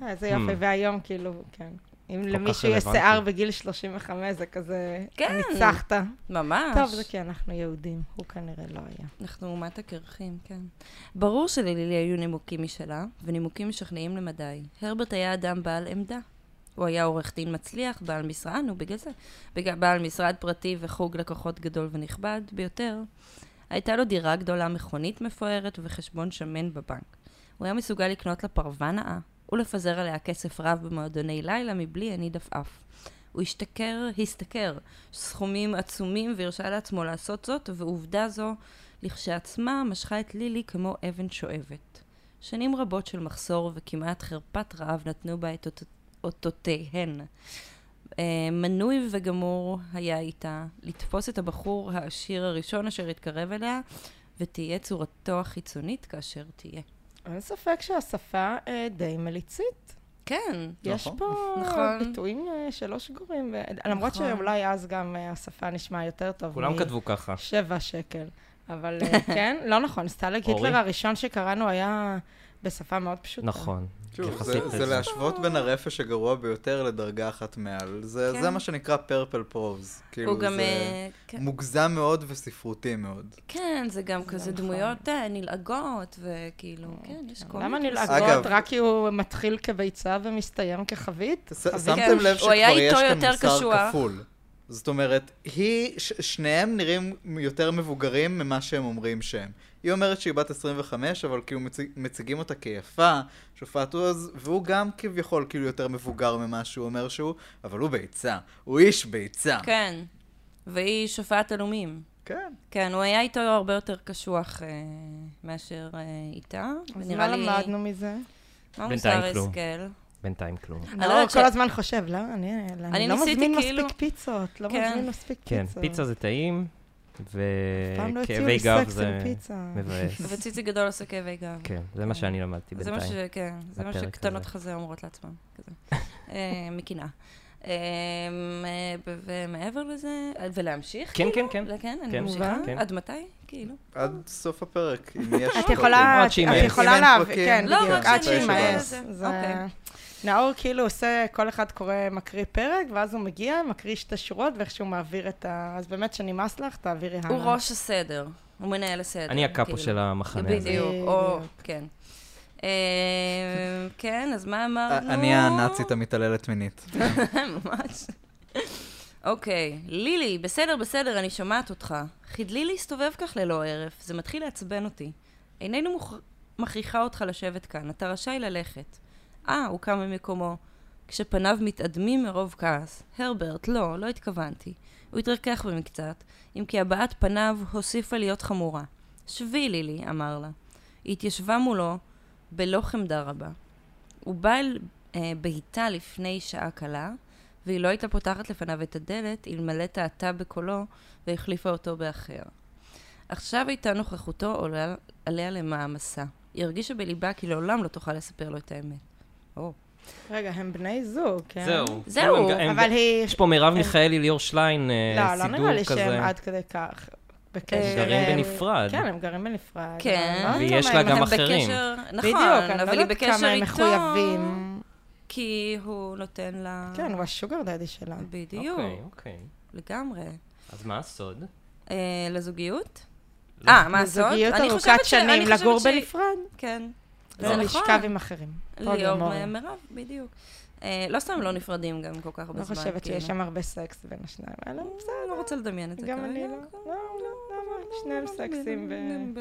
S4: אה, זה יופי,
S1: Hmm.
S4: והיום כאילו, כן. אם
S1: כך
S4: למישהו יש
S1: רלוונטי.
S4: שיער בגיל 35, זה כזה,
S3: כן.
S4: ניצחת.
S3: ממש.
S4: טוב, זה כי אנחנו יהודים, הוא כנראה לא היה.
S3: אנחנו אומת הקרחים, כן. ברור שללילי היו נימוקים משלה, ונימוקים משכנעים למדי. הרברט היה אדם בעל עמדה. הוא היה עורך דין מצליח, בעל משרד, נו, בגלל זה. בגלל, בעל משרד פרטי וחוג לקוחות גדול ונכבד ביותר. הייתה לו דירה גדולה, מכונית מפוארת וחשבון שמן בבנק. הוא היה מסוגל לקנות לה פרווה נאה, ולפזר עליה כסף רב במועדוני לילה מבלי עני דפאף. הוא השתכר, השתכר, סכומים עצומים והרשה לעצמו לעשות זאת, ועובדה זו לכשעצמה משכה את לילי כמו אבן שואבת. שנים רבות של מחסור וכמעט חרפת רעב נתנו בה את אותות- אותותיהן. אה, מנוי וגמור היה איתה לתפוס את הבחור העשיר הראשון אשר התקרב אליה, ותהיה צורתו החיצונית כאשר תהיה.
S4: אין ספק שהשפה אה, די מליצית.
S3: כן.
S4: יש
S2: נכון.
S4: פה
S3: נכון.
S4: ביטויים אה, שלא שגורים, ו- למרות
S3: נכון.
S4: שאולי אז גם אה, השפה נשמע יותר טוב.
S1: כולם
S4: מ-
S1: כתבו ככה.
S4: שבע שקל. אבל אה, [laughs] כן, לא נכון, סטלג
S1: אורי?
S4: היטלר הראשון שקראנו היה בשפה מאוד פשוטה.
S1: נכון.
S2: שוב,
S1: יחסית
S2: זה-
S1: לזה.
S2: זה להשוות בין הרפש הגרוע ביותר לדרגה אחת מעל. זה
S3: כן.
S2: זה מה שנקרא פרפל פרוז.
S3: הוא
S2: כאילו,
S3: גם...
S2: זה
S3: אה, כן-
S2: מוגזם מאוד וספרותי מאוד.
S3: כן, זה גם
S4: זה
S3: כזה
S4: נכון.
S3: דמויות אה, נלעגות, וכאילו, כן, יש כל
S4: למה
S3: מיני
S4: נלעגות?
S2: אגב-
S4: רק כי הוא מתחיל כביצה ומסתיים כחבית?
S2: ס-
S4: חבית?
S2: שמתם לב
S3: הוא
S2: שכבר
S3: היה
S2: יש
S3: איתו
S2: כאן
S3: יותר
S2: מוסר
S3: קשוח.
S2: כפול. זאת אומרת, היא, ש- שניהם נראים יותר מבוגרים ממה שהם אומרים שהם. היא אומרת שהיא בת 25, אבל כאילו מציג, מציגים אותה כיפה, שופט עוז, והוא גם כביכול כאילו יותר מבוגר ממה שהוא אומר שהוא, אבל הוא ביצה. הוא איש
S4: אה.
S2: ביצה.
S3: כן, והיא שופעת עלומים.
S2: כן.
S3: כן, הוא היה איתו הרבה יותר קשוח אה, מאשר אה, איתה.
S4: אז
S3: ונראה
S4: מה
S3: לי-
S4: למדנו מזה?
S3: מה
S1: בינתיים
S3: מוסר
S1: כלום.
S3: השכל?
S1: בינתיים
S3: [laughs]
S1: כלום.
S3: לא
S4: נאור
S3: יודעת ש-
S4: כל הזמן חושב, לא, אני אני
S3: אני
S4: לא
S3: ניסיתי
S4: מזמין
S3: כאילו-
S4: מספיק פיצות, לא
S3: כן.
S4: מזמין מספיק
S1: כן,
S4: פיצות.
S1: פיצה זה טעים,
S4: פעם לא הציעו
S1: וכאבי
S4: לי
S1: גב
S4: סקס
S1: זה
S4: עם פיצה.
S1: מבאס.
S3: [laughs] וציצי גדול עושה כאבי גב.
S1: כן, זה מה שאני למדתי
S3: זה מה ש...
S1: בינתיים.
S3: כן, זה מה
S1: בפרק
S3: שקטנות
S1: הזה.
S3: חזה אומרות לעצמן,
S1: [laughs]
S3: כזה. אה, מקנאה. אה, אה, ו- ומעבר לזה, אה, ולהמשיך?
S1: כן,
S3: כאילו? [laughs]
S1: כן, כן.
S3: לא, כן, אני
S1: כן.
S3: ממשיכה?
S1: כן.
S3: עד מתי? כאילו.
S2: עד סוף הפרק, אם יש...
S4: את
S2: פרקים.
S4: יכולה,
S1: עוד
S4: את
S1: שימאס.
S2: אם
S4: יכולה
S2: אין
S4: להבין,
S2: פרקים,
S4: כן,
S3: לא,
S4: בדיוק,
S3: רק
S4: עד
S3: שאני
S4: שימאס.
S3: אשמע את זה.
S4: זה-
S3: אוקיי.
S4: נאור כאילו עושה, כל אחד קורא, מקריא פרק, ואז הוא מגיע, מקריא שתי שורות, ואיכשהו מעביר את ה... אז באמת, שנמאס לך, תעבירי הלאה.
S3: הוא ראש הסדר, הוא מנהל הסדר.
S1: אני הקאפו
S3: כאילו.
S1: של המחנה הזה.
S3: בדיוק, או,
S4: בדיוק.
S3: כן. אה, כן, אז מה אמרנו?
S2: אני הנאצית המתעללת מינית.
S3: [laughs] ממש. אוקיי, לילי, בסדר, בסדר, אני שומעת אותך. חדלי להסתובב כך ללא הרף, זה מתחיל לעצבן אותי. איננו מוכ... מכריחה אותך לשבת כאן, אתה רשאי ללכת. אה, הוא קם ממקומו, כשפניו מתאדמים מרוב כעס. הרברט, לא, לא התכוונתי. הוא התרכך במקצת, אם כי הבעת פניו הוסיפה להיות חמורה. שבי, לילי, אמר לה. היא התיישבה מולו בלא חמדה רבה. הוא בא אל אה, ביתה לפני שעה קלה, והיא לא הייתה פותחת לפניו את הדלת, אלמלא טעתה בקולו והחליפה אותו באחר. עכשיו הייתה נוכחותו עולה עליה למעמסה. היא הרגישה בליבה כי לעולם לא תוכל לספר לו את האמת. או.
S4: רגע, הם בני זוג, כן?
S1: זהו.
S3: זהו,
S1: הם- הם-
S4: אבל היא...
S1: יש פה מרב
S3: כן.
S1: מיכאלי, ליאור שליין, אה,
S4: לא, לא
S1: סידור
S4: נראה לי
S1: כזה.
S4: שהם עד כדי כך. בקשר...
S1: הם גרים
S4: הם-
S1: בנפרד.
S4: כן, הם גרים בנפרד.
S3: כן.
S4: אני לא יודעת
S1: ויש
S4: למה
S1: לה
S4: הם-
S1: אה, גם
S3: הם
S1: אחרים.
S3: בקשר... נכון,
S4: בדיוק, אני לא
S3: אבל היא
S4: יודעת
S3: בקשר
S4: כמה הם
S3: איתו,
S4: מחויבים.
S3: כי הוא נותן לה...
S4: כן, הוא השוגר דדי שלה.
S3: בדיוק,
S1: אוקיי, אוקיי.
S3: לגמרי.
S1: אז מה הסוד?
S3: אה, לזוגיות?
S1: לא.
S3: אה, מה הסוד?
S4: זוגיות
S3: אני
S4: ארוכת
S3: חושבת ש- אני
S4: שנים,
S3: חושבת
S4: לגור
S3: ש-
S4: בנפרד.
S3: כן.
S4: לא
S3: זה נכון.
S4: לשכב עם אחרים.
S3: ליאור
S4: פוליאמוריה.
S3: מ- מירב, בדיוק. אה, לא סתם לא נפרדים גם כל כך בזמן.
S4: לא חושבת
S3: כאילו.
S4: שיש שם הרבה סקס בין השניים האלה. בסדר,
S3: אני לא רוצה לדמיין את זה
S4: גם
S3: כרגע. לא,
S4: אני לא. לא, לא, למה? שניהם סקסים ב...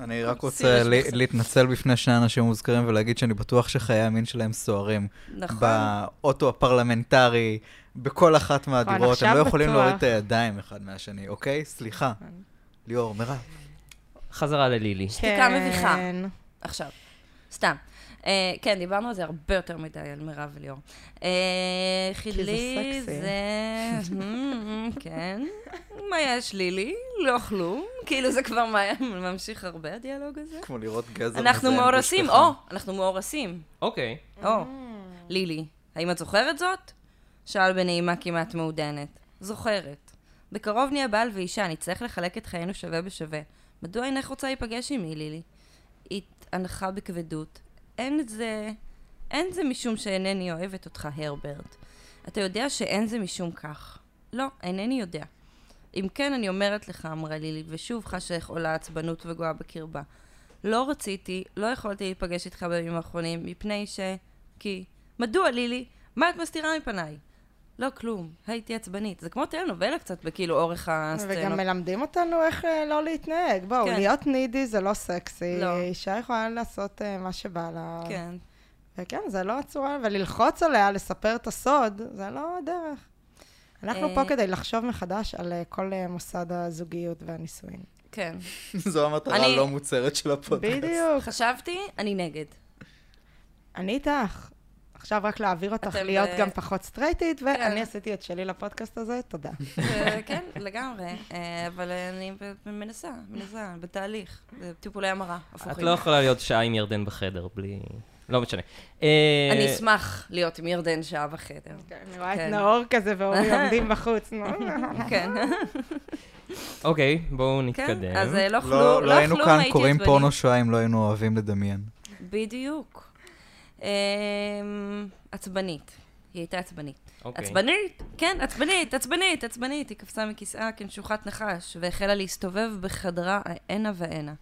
S2: אני רק רוצה
S3: סירס
S2: לי-
S3: בסדר.
S2: להתנצל בפני שני אנשים מוזכרים ולהגיד שאני בטוח שחיי המין שלהם סוערים.
S3: נכון.
S2: באוטו הפרלמנטרי, בכל אחת מהדירות,
S4: עכשיו
S2: הם לא יכולים
S4: בטוח.
S2: להוריד את הידיים אחד מהשני, אוקיי? סליחה.
S3: כן.
S2: ליאור, מירב.
S1: חזרה ללילי.
S3: שתיקה מביכה.
S4: כן.
S3: עכשיו, סתם. אה, כן, דיברנו על זה הרבה יותר מדי, על מירב וליאור. אה, חידלי
S4: סקסי.
S3: זה... [laughs] Hmm, כן. מה יש לילי? לא כלום. כאילו זה כבר מה- ממשיך הרבה, הדיאלוג הזה.
S2: כמו לראות גזר. מזהם
S3: אנחנו
S2: גוש
S3: מאורסים,
S2: פחם.
S3: או, אנחנו מאורסים.
S1: אוקיי.
S3: או, לילי, האם את זוכרת זאת? שאל בנעימה כמעט מעודנת. זוכרת. בקרוב נהיה בעל ואישה, נצטרך לחלק את חיינו שווה בשווה. מדוע אינך רוצה להיפגש עימי, לילי? התענחה בכבדות. אין זה... אין זה משום שאינני אוהבת אותך, הרברט. אתה יודע שאין זה משום כך. לא, אינני יודע. אם כן, אני אומרת לך, אמרה לילי, ושוב חשה איך עולה עצבנות וגואה בקרבה. לא רציתי, לא יכולתי להיפגש איתך בימים האחרונים, מפני ש... כי... מדוע, לילי? מה את מסתירה מפניי? לא כלום, הייתי עצבנית. זה כמו טלנובלה קצת, בכאילו אורך
S4: וגם
S3: הסצנות.
S4: מלמדים אותנו איך אה, לא להתנהג. בואו,
S3: לא- כן.
S4: להיות נידי זה לא סקסי.
S3: לא.
S4: אישה יכולה לעשות אה, מה שבא לה.
S3: כן.
S4: וכן, זה לא הצורה, וללחוץ עליה, לספר את הסוד, זה לא הדרך. אנחנו פה
S3: אה.
S4: כדי לחשוב מחדש על אה, כל אה, מוסד הזוגיות והנישואין.
S3: כן.
S2: [laughs] זו המטרה
S3: אני-
S2: הלא מוצהרת של הפודקאסט. לא-
S4: בדיוק.
S3: חשבתי, אני נגד.
S4: אני איתך. עכשיו רק להעביר אותך
S3: אתם,
S4: להיות
S3: אה,
S4: גם פחות סטרייטית,
S3: כן.
S4: ואני עשיתי את שלי לפודקאסט הזה,
S3: [laughs]
S4: תודה.
S3: אה, כן, לגמרי. אה, אבל אני מנסה, מנסה, בתהליך. זה טיפולי המרה,
S1: את
S3: הפוכים.
S1: לא יכולה להיות שעה עם ירדן בחדר בלי... לא משנה. אה,
S3: אני אשמח להיות עם ירדן שעה בחדר.
S4: אני רואה
S3: כן.
S4: את נאור כזה
S3: [laughs]
S4: ואורי עומדים בחוץ, נו.
S1: [laughs]
S3: כן,
S1: אוקיי, בואו
S3: כן.
S1: נתקדם.
S3: אז אה, לא
S2: לא-
S3: כלום, לא כלום,
S2: לא היינו כאן
S3: הייתי
S2: קוראים
S3: עצבנית.
S2: פורנו שואה אם לא היינו אוהבים לדמיין.
S3: בדיוק. אמ, עצבנית. היא הייתה עצבנית.
S1: אוקיי.
S3: עצבנית? כן, עצבנית, עצבנית, עצבנית. היא קפצה מכיסאה כנשוכת נחש, והחלה להסתובב בחדרה הנה והנה.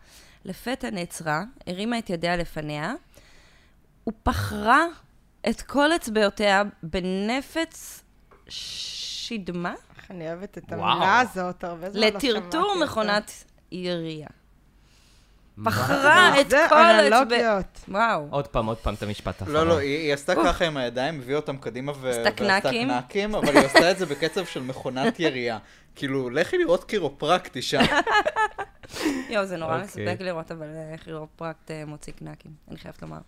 S3: לפתע נעצרה, הרימה את ידיה לפניה, ופחרה את כל אצבעותיה בנפץ שדמה
S4: איך אני אוהבת את
S1: וואו.
S4: המילה הזאת, הרבה זמן לא שמעתי.
S3: לטרטור
S4: אותה.
S3: מכונת ירייה.
S1: מה?
S3: בחרה את
S4: זה
S3: כל האצבע...
S4: אנלוגיות.
S3: וואו.
S1: עוד פעם, עוד פעם את המשפט האחרון.
S2: לא, לא, היא היא עשתה
S3: אוף.
S2: ככה עם הידיים, הביאה אותם קדימה ו-
S3: עשתה קנקים.
S2: קנקים, אבל היא עשתה את זה בקצב של מכונת ירייה. כאילו, לכי לראות קירופרקטי
S3: [laughs]
S2: שם.
S3: יואו, זה נורא
S1: אוקיי.
S3: מספק לראות, אבל אה, כירופרקט אה, מוציא קנקים, אני חייבת לומר.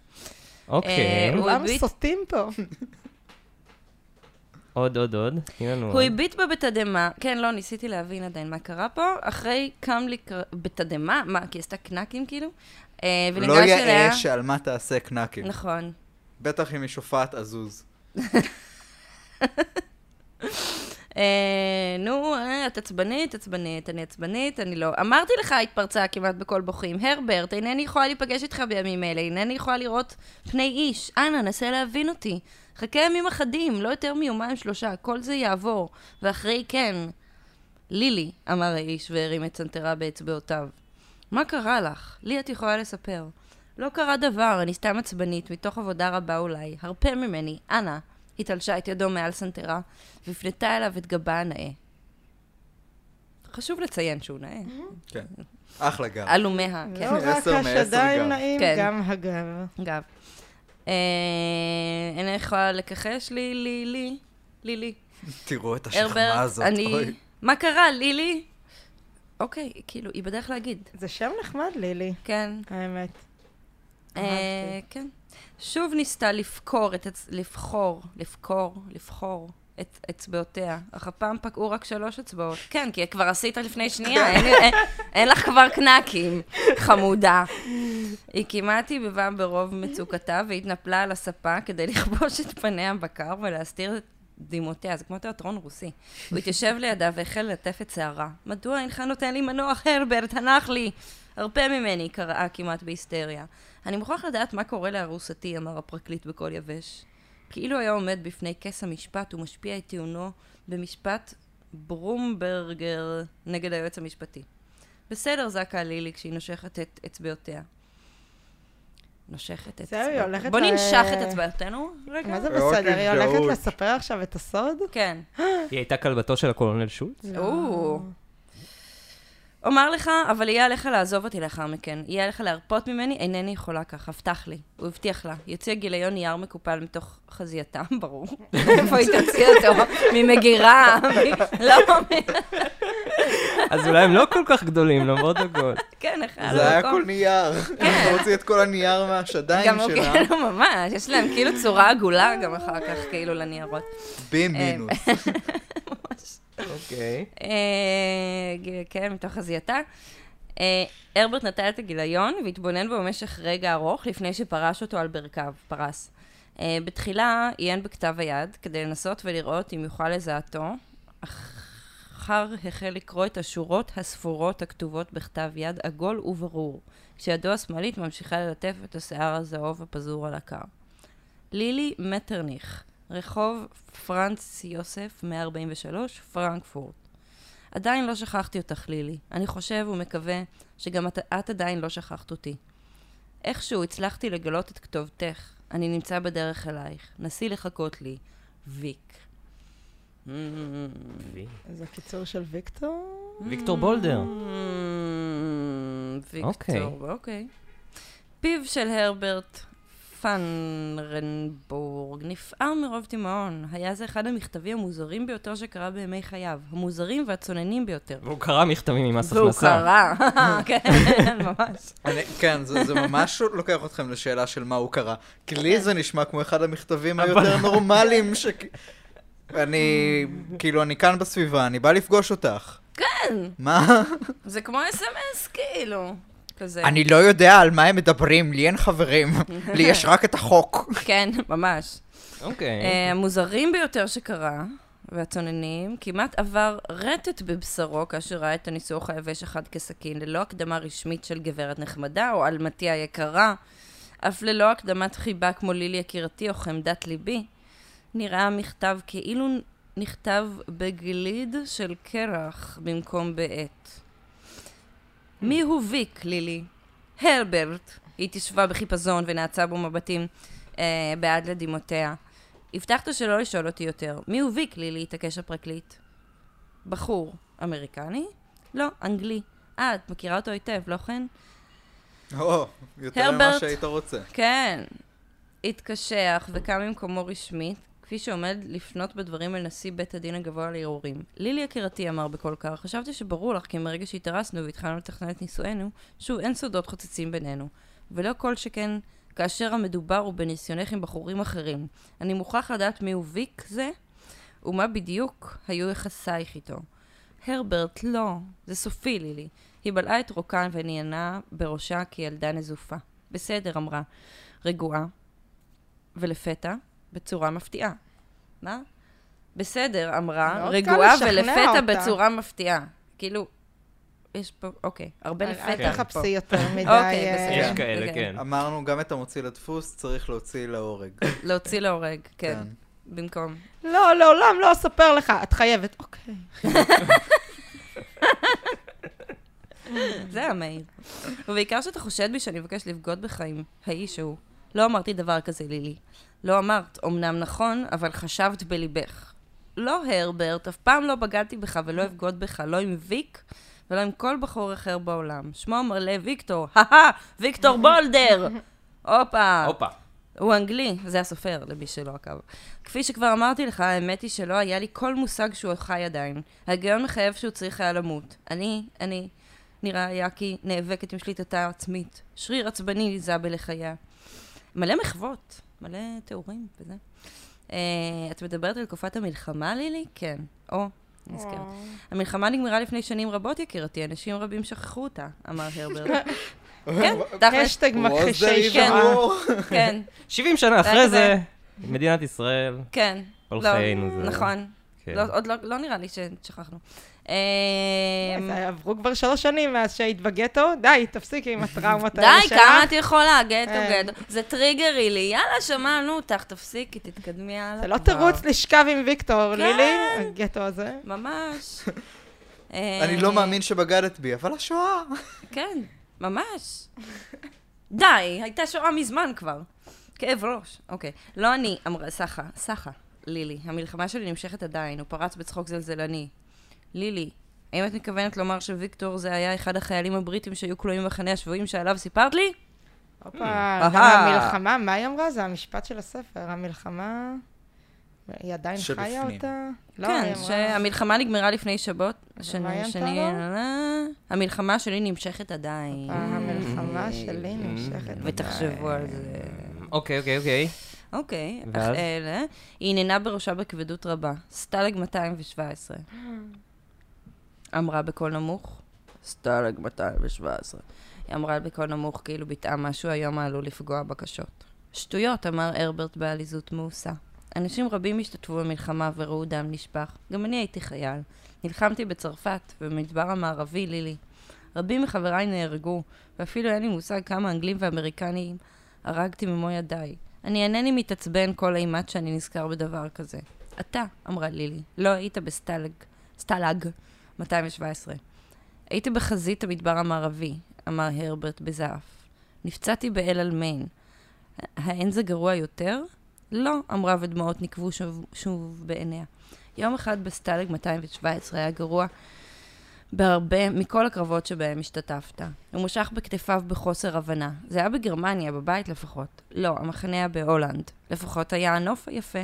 S1: אוקיי.
S3: אה, הוא
S4: כולם
S3: הביט- כן.
S4: סוטים פה.
S1: עוד, עוד, עוד. תני לנו
S2: אוקיי.
S3: הוא
S1: עוד.
S3: הביט בה בתדהמה, כן, לא, ניסיתי להבין עדיין מה קרה פה, אחרי קם לי קר- בתדהמה, מה, כי היא עשתה קנקים כאילו? אה,
S2: לא
S3: וניגש אליה...
S2: יאה כן. שעל מה תעשה קנקים.
S3: נכון.
S2: בטח אם היא שופעת עזוז.
S3: אה, נו, אה, את עצבנית, עצבנית, אני עצבנית, אני לא... אמרתי לך, התפרצה כמעט בקול בוכים. הרברט, אינני יכולה להיפגש איתך בימים אלה, אינני יכולה לראות פני איש. אנא, נסה להבין אותי. חכה ימים אחדים, לא יותר מיומיים שלושה, כל זה יעבור. ואחרי כן, לילי, אמר האיש והרים את צנתרה באצבעותיו. מה קרה לך? לי את יכולה לספר. לא קרה דבר, אני סתם עצבנית, מתוך עבודה רבה אולי. הרפה ממני, אנא. היא תלשה את ידו מעל סנטרה, והפנתה אליו את גבה הנאה. חשוב לציין שהוא נאה.
S2: כן. אחלה גב.
S3: עלומיה,
S4: לא
S3: כן.
S4: רק
S2: עשר מעשר
S4: השדיים
S2: גם.
S4: נעים,
S3: כן.
S4: גם הגב.
S3: גב. אה, אינני אה, יכולה לכחש לי, לי, לי, לי, לי.
S2: תראו את השכמה
S3: הרברט,
S2: הזאת.
S3: אני...
S2: אוי.
S3: מה קרה, לילי? אוקיי, כאילו, היא בדרך להגיד.
S4: זה שם נחמד, לילי,
S3: כן.
S4: האמת.
S3: אה, כן. שוב ניסתה לבכור את... הצ- לבחור, לבכור, לבחור את אצבעותיה, אך הפעם פקעו רק שלוש אצבעות. כן, כי כבר עשית לפני שנייה, אין, אין, אין לך כבר קנקים, חמודה. היא כמעט עיבבה ברוב מצוקתה והתנפלה על הספה כדי לכבוש את פניה בקר ולהסתיר את דמעותיה. זה כמו תיאטרון רוסי. הוא התיישב לידה והחל ללטף את שערה. מדוע אינך נותן לי מנוח, הרברט, הנח לי! הרפה ממני, קראה כמעט בהיסטריה. אני מוכרח לדעת מה קורה לארוסתי, אמר הפרקליט בקול יבש. כאילו היה עומד בפני כס המשפט ומשפיע את טיעונו במשפט ברומברגר נגד היועץ המשפטי. בסדר, זקה לילי, כשהיא נושכת את אצבעותיה. נושכת את
S4: זהו, היא הולכת
S3: בוא
S4: ל-
S3: ננשך את אצבעותינו רגע.
S4: מה זה
S2: אוקיי,
S4: בסדר? היא הולכת
S2: טעות.
S4: לספר עכשיו את הסוד?
S3: כן.
S1: היא הייתה כלבתו של הקולונל שולץ?
S3: או. אומר לך, אבל יהיה עליך לעזוב אותי לאחר מכן. יהיה עליך להרפות ממני, אינני יכולה כך, הבטח לי. הוא הבטיח לה. יוציא גיליון נייר מקופל מתוך חזייתם, [laughs] ברור. איפה היא תוציא אותו? ממגירה? מ- לא, מ-
S1: אז אולי הם לא כל כך גדולים, למרות הכל.
S3: כן, איך היה לו
S2: זה היה
S3: מקום?
S2: כל נייר. אתה הוציא את כל הנייר מהשדיים
S3: כן. גם הוא
S2: שלה.
S3: כאילו ממש, יש להם כאילו צורה עגולה גם אחר כך, כאילו, לניירות.
S2: במינוס.
S1: אוקיי.
S3: אה, ג- כן, מתוך חזייתה. אה, הרברט נטל את הגיליון והתבונן בו במשך רגע ארוך לפני שפרש אותו על ברכיו, פרס. אה, בתחילה עיין בכתב היד כדי לנסות ולראות אם יוכל לזהותו. אחר החל לקרוא את השורות הספורות הכתובות בכתב יד עגול וברור, כשידו השמאלית ממשיכה ללטף את השיער הזהוב הפזור על הקר. לילי מטרניך, רחוב פרנץ יוסף 143, פרנקפורט. עדיין לא שכחתי אותך, לילי. אני חושב ומקווה שגם את, את עדיין לא שכחת אותי. איכשהו הצלחתי לגלות את כתובתך. אני נמצא בדרך אלייך. נסי לחכות לי. ויק.
S4: זה קיצור של ויקטור?
S1: ויקטור בולדר. אוקיי.
S3: Mm, ויקטור, אוקיי. פיו של הרברט פנרנבורג נפער מרוב תימהון. היה זה אחד המכתבים המוזרים ביותר שקרא בימי חייו. המוזרים והצוננים ביותר.
S1: והוא קרא מכתבים ממס
S3: והוא
S1: הכנסה.
S3: קרא, [laughs] כן,
S1: [laughs]
S3: ממש.
S2: אני- כן, זה זה ממש לוקח אתכם לשאלה של מה הוא קרא. כי
S3: כן.
S2: לי זה נשמע כמו אחד המכתבים היותר נורמליים ש... אני, כאילו, אני כאן בסביבה, אני בא לפגוש אותך. כן. מה?
S3: זה כמו אס.אם.אס, כאילו. כזה.
S2: אני לא יודע על מה הם מדברים, לי אין חברים. לי יש רק את החוק.
S3: כן, ממש.
S1: אוקיי.
S3: אה, המוזרים ביותר שקרה, והצוננים, כמעט עבר רטט בבשרו כאשר ראה את הניסוח היבש אחד כסכין, ללא הקדמה רשמית של גברת נחמדה או אלמתי היקרה, אף ללא הקדמת חיבה כמו לילי יקירתי או חמדת ליבי. נראה המכתב כאילו נכתב בגליד של קרח במקום בעט. מי הוא ויק, לילי? הרברט. היא תשבה בחיפזון ונעצה בו מבטים אה, בעד לדמעותיה. הבטחת שלא לשאול אותי יותר. מי הוא ויק, לילי? התעקש הפרקליט. בחור. אמריקני? לא, אנגלי. אה, את מכירה אותו היטב, לא כן?
S2: או, יותר ממה
S3: הרברט.
S2: שהיית רוצה.
S3: כן. התקשח וקם ממקומו רשמית, כפי שעומד לפנות בדברים אל נשיא בית הדין הגבוה לערעורים. לילי יקירתי אמר בקול קר, חשבתי שברור לך כי מרגע שהתארסנו והתחלנו לתכנן את נישואינו, שוב אין סודות חוצצים בינינו. ולא כל שכן כאשר המדובר הוא בניסיונך עם בחורים אחרים. אני מוכרח לדעת מי הוא ויק זה, ומה בדיוק היו יחסייך איתו. הרברט, לא, זה סופי, לילי. היא בלעה את רוקן ונענה בראשה כילדה נזופה. בסדר, אמרה. רגועה, ולפתע, בצורה מפתיעה. מה? בסדר, אמרה,
S4: מאוד קל
S3: רגועה
S4: לא לשכנע
S3: ולפתע
S4: אותה.
S3: בצורה מפתיעה. כאילו, יש פה, אוקיי, הרבה
S4: אל-
S3: לפתע.
S4: אל
S3: יש פה.
S4: תחפשי יותר מדי.
S3: אוקיי,
S4: אה,
S3: בסדר.
S1: יש כאלה,
S3: אוקיי.
S1: כן.
S2: אמרנו, גם את המוציא לדפוס צריך להוציא להורג.
S3: להוציא להורג, כן.
S2: כן.
S3: במקום.
S4: לא, לעולם לא אספר לך, את חייבת. אוקיי.
S3: זה היה מהיר. ובעיקר שאתה חושד בי שאני מבקש לבגוד בך עם האיש ההוא. לא אמרתי דבר כזה, לילי. לא אמרת, אמנם נכון, אבל חשבת בליבך. לא, הרברט, אף פעם לא בגדתי בך ולא אבגוד בך, לא עם ויק ולא עם כל בחור אחר בעולם. שמו המלא ויקטור, [laughs] הא ויקטור בולדר! הופה!
S1: הופה.
S3: הוא אנגלי, זה הסופר, למי שלא עקב. כפי שכבר אמרתי לך, האמת היא שלא היה לי כל מושג שהוא חי עדיין. ההיגיון מחייב שהוא צריך היה למות. אני, אני, נראה היה כי נאבקת עם שליטתה העצמית. שריר עצבני ליזה בלחייה. מלא מחוות, מלא תיאורים וזה. אה, את מדברת על תקופת המלחמה, לילי? כן. או, נזכרת. המלחמה נגמרה לפני שנים רבות, יקירתי, אנשים רבים שכחו אותה, אמר הרברט. כן, תכל'ס,
S4: השטג
S2: Was there
S4: מכחישי
S2: even
S3: כן.
S4: שואה.
S2: war?
S3: כן,
S1: 70 שנה אחרי זה, מדינת ישראל,
S3: כן.
S1: כל
S3: לא,
S1: חיינו זה...
S3: נכון.
S1: כן.
S3: לא, עוד לא, לא נראה לי לא ששכחנו. Uh,
S4: אה,
S3: אמ,
S4: אז אה, עברו כבר שלוש שנים מאז שהיית בגטו, די, תפסיקי עם הטראומות האלה
S3: די,
S4: שלך.
S3: כמה את יכולה, גטו,
S4: כן.
S3: גטו. זה טריגרי לי. יאללה, שמענו אותך, תפסיקי, תתקדמי הלאה.
S4: זה לא
S3: כבר.
S4: תירוץ לשכב עם ויקטור,
S3: כן.
S4: לילי, הגטו הזה.
S3: ממש. אה,
S2: אני לא מאמין שבגדת בי, אבל השואה.
S3: כן, ממש. די, הייתה שואה מזמן כבר. כאב ראש. אוקיי. לא אני, אמרה סחה, סחה, לילי, המלחמה שלי נמשכת עדיין, הוא פרץ בצחוק זלזלני. לילי, האם את מתכוונת לומר שוויקטור זה היה אחד החיילים הבריטים שהיו כלואים במחנה השבויים שעליו סיפרת לי?
S4: הופה,
S1: אה.
S4: גם
S3: אהה.
S4: המלחמה, מה היא אמרה? זה המשפט של הספר, המלחמה... היא עדיין חיה
S2: שלפנים.
S4: אותה? לא, היא
S3: כן,
S4: אמרה- לא
S3: שהמלחמה נגמרה לפני שבת.
S4: מה היא
S3: שני,
S4: ענתה
S3: שני,
S4: לו?
S3: לה, לה. המלחמה שלי נמשכת עדיין.
S4: "אה,
S1: אה.
S4: המלחמה שלי נמשכת.
S1: Mm.
S3: ותחשבו על זה.
S1: אוקיי, אוקיי, אוקיי.
S3: אוקיי, אך
S1: ואז?
S3: אלה, היא עניינה בראשה בכבדות רבה. סטלג 217. אמרה בקול נמוך. סטלג 217. היא אמרה בקול נמוך, כאילו ביטאה משהו היום העלול לפגוע בקשות. שטויות, אמר הרברט בעליזות מאוסה. אנשים רבים השתתפו במלחמה וראו דם נשפך. גם אני הייתי חייל. נלחמתי בצרפת, במדבר המערבי, לילי. רבים מחבריי נהרגו, ואפילו אין לי מושג כמה אנגלים ואמריקנים הרגתי במו ידיי. אני אינני מתעצבן כל אימת שאני נזכר בדבר כזה. אתה, אמרה לילי, לא היית בסטלג, סטלג 217. הייתי בחזית המדבר המערבי, אמר הרברט בזעף. נפצעתי באל אלמיין. האין זה גרוע יותר? לא, אמרה ודמעות נקבו שוב, שוב בעיניה. יום אחד בסטלג 217 היה גרוע בהרבה מכל הקרבות שבהם השתתפת. הוא משך בכתפיו בחוסר הבנה. זה היה בגרמניה, בבית לפחות. לא, המחנה היה בהולנד. לפחות היה הנוף היפה.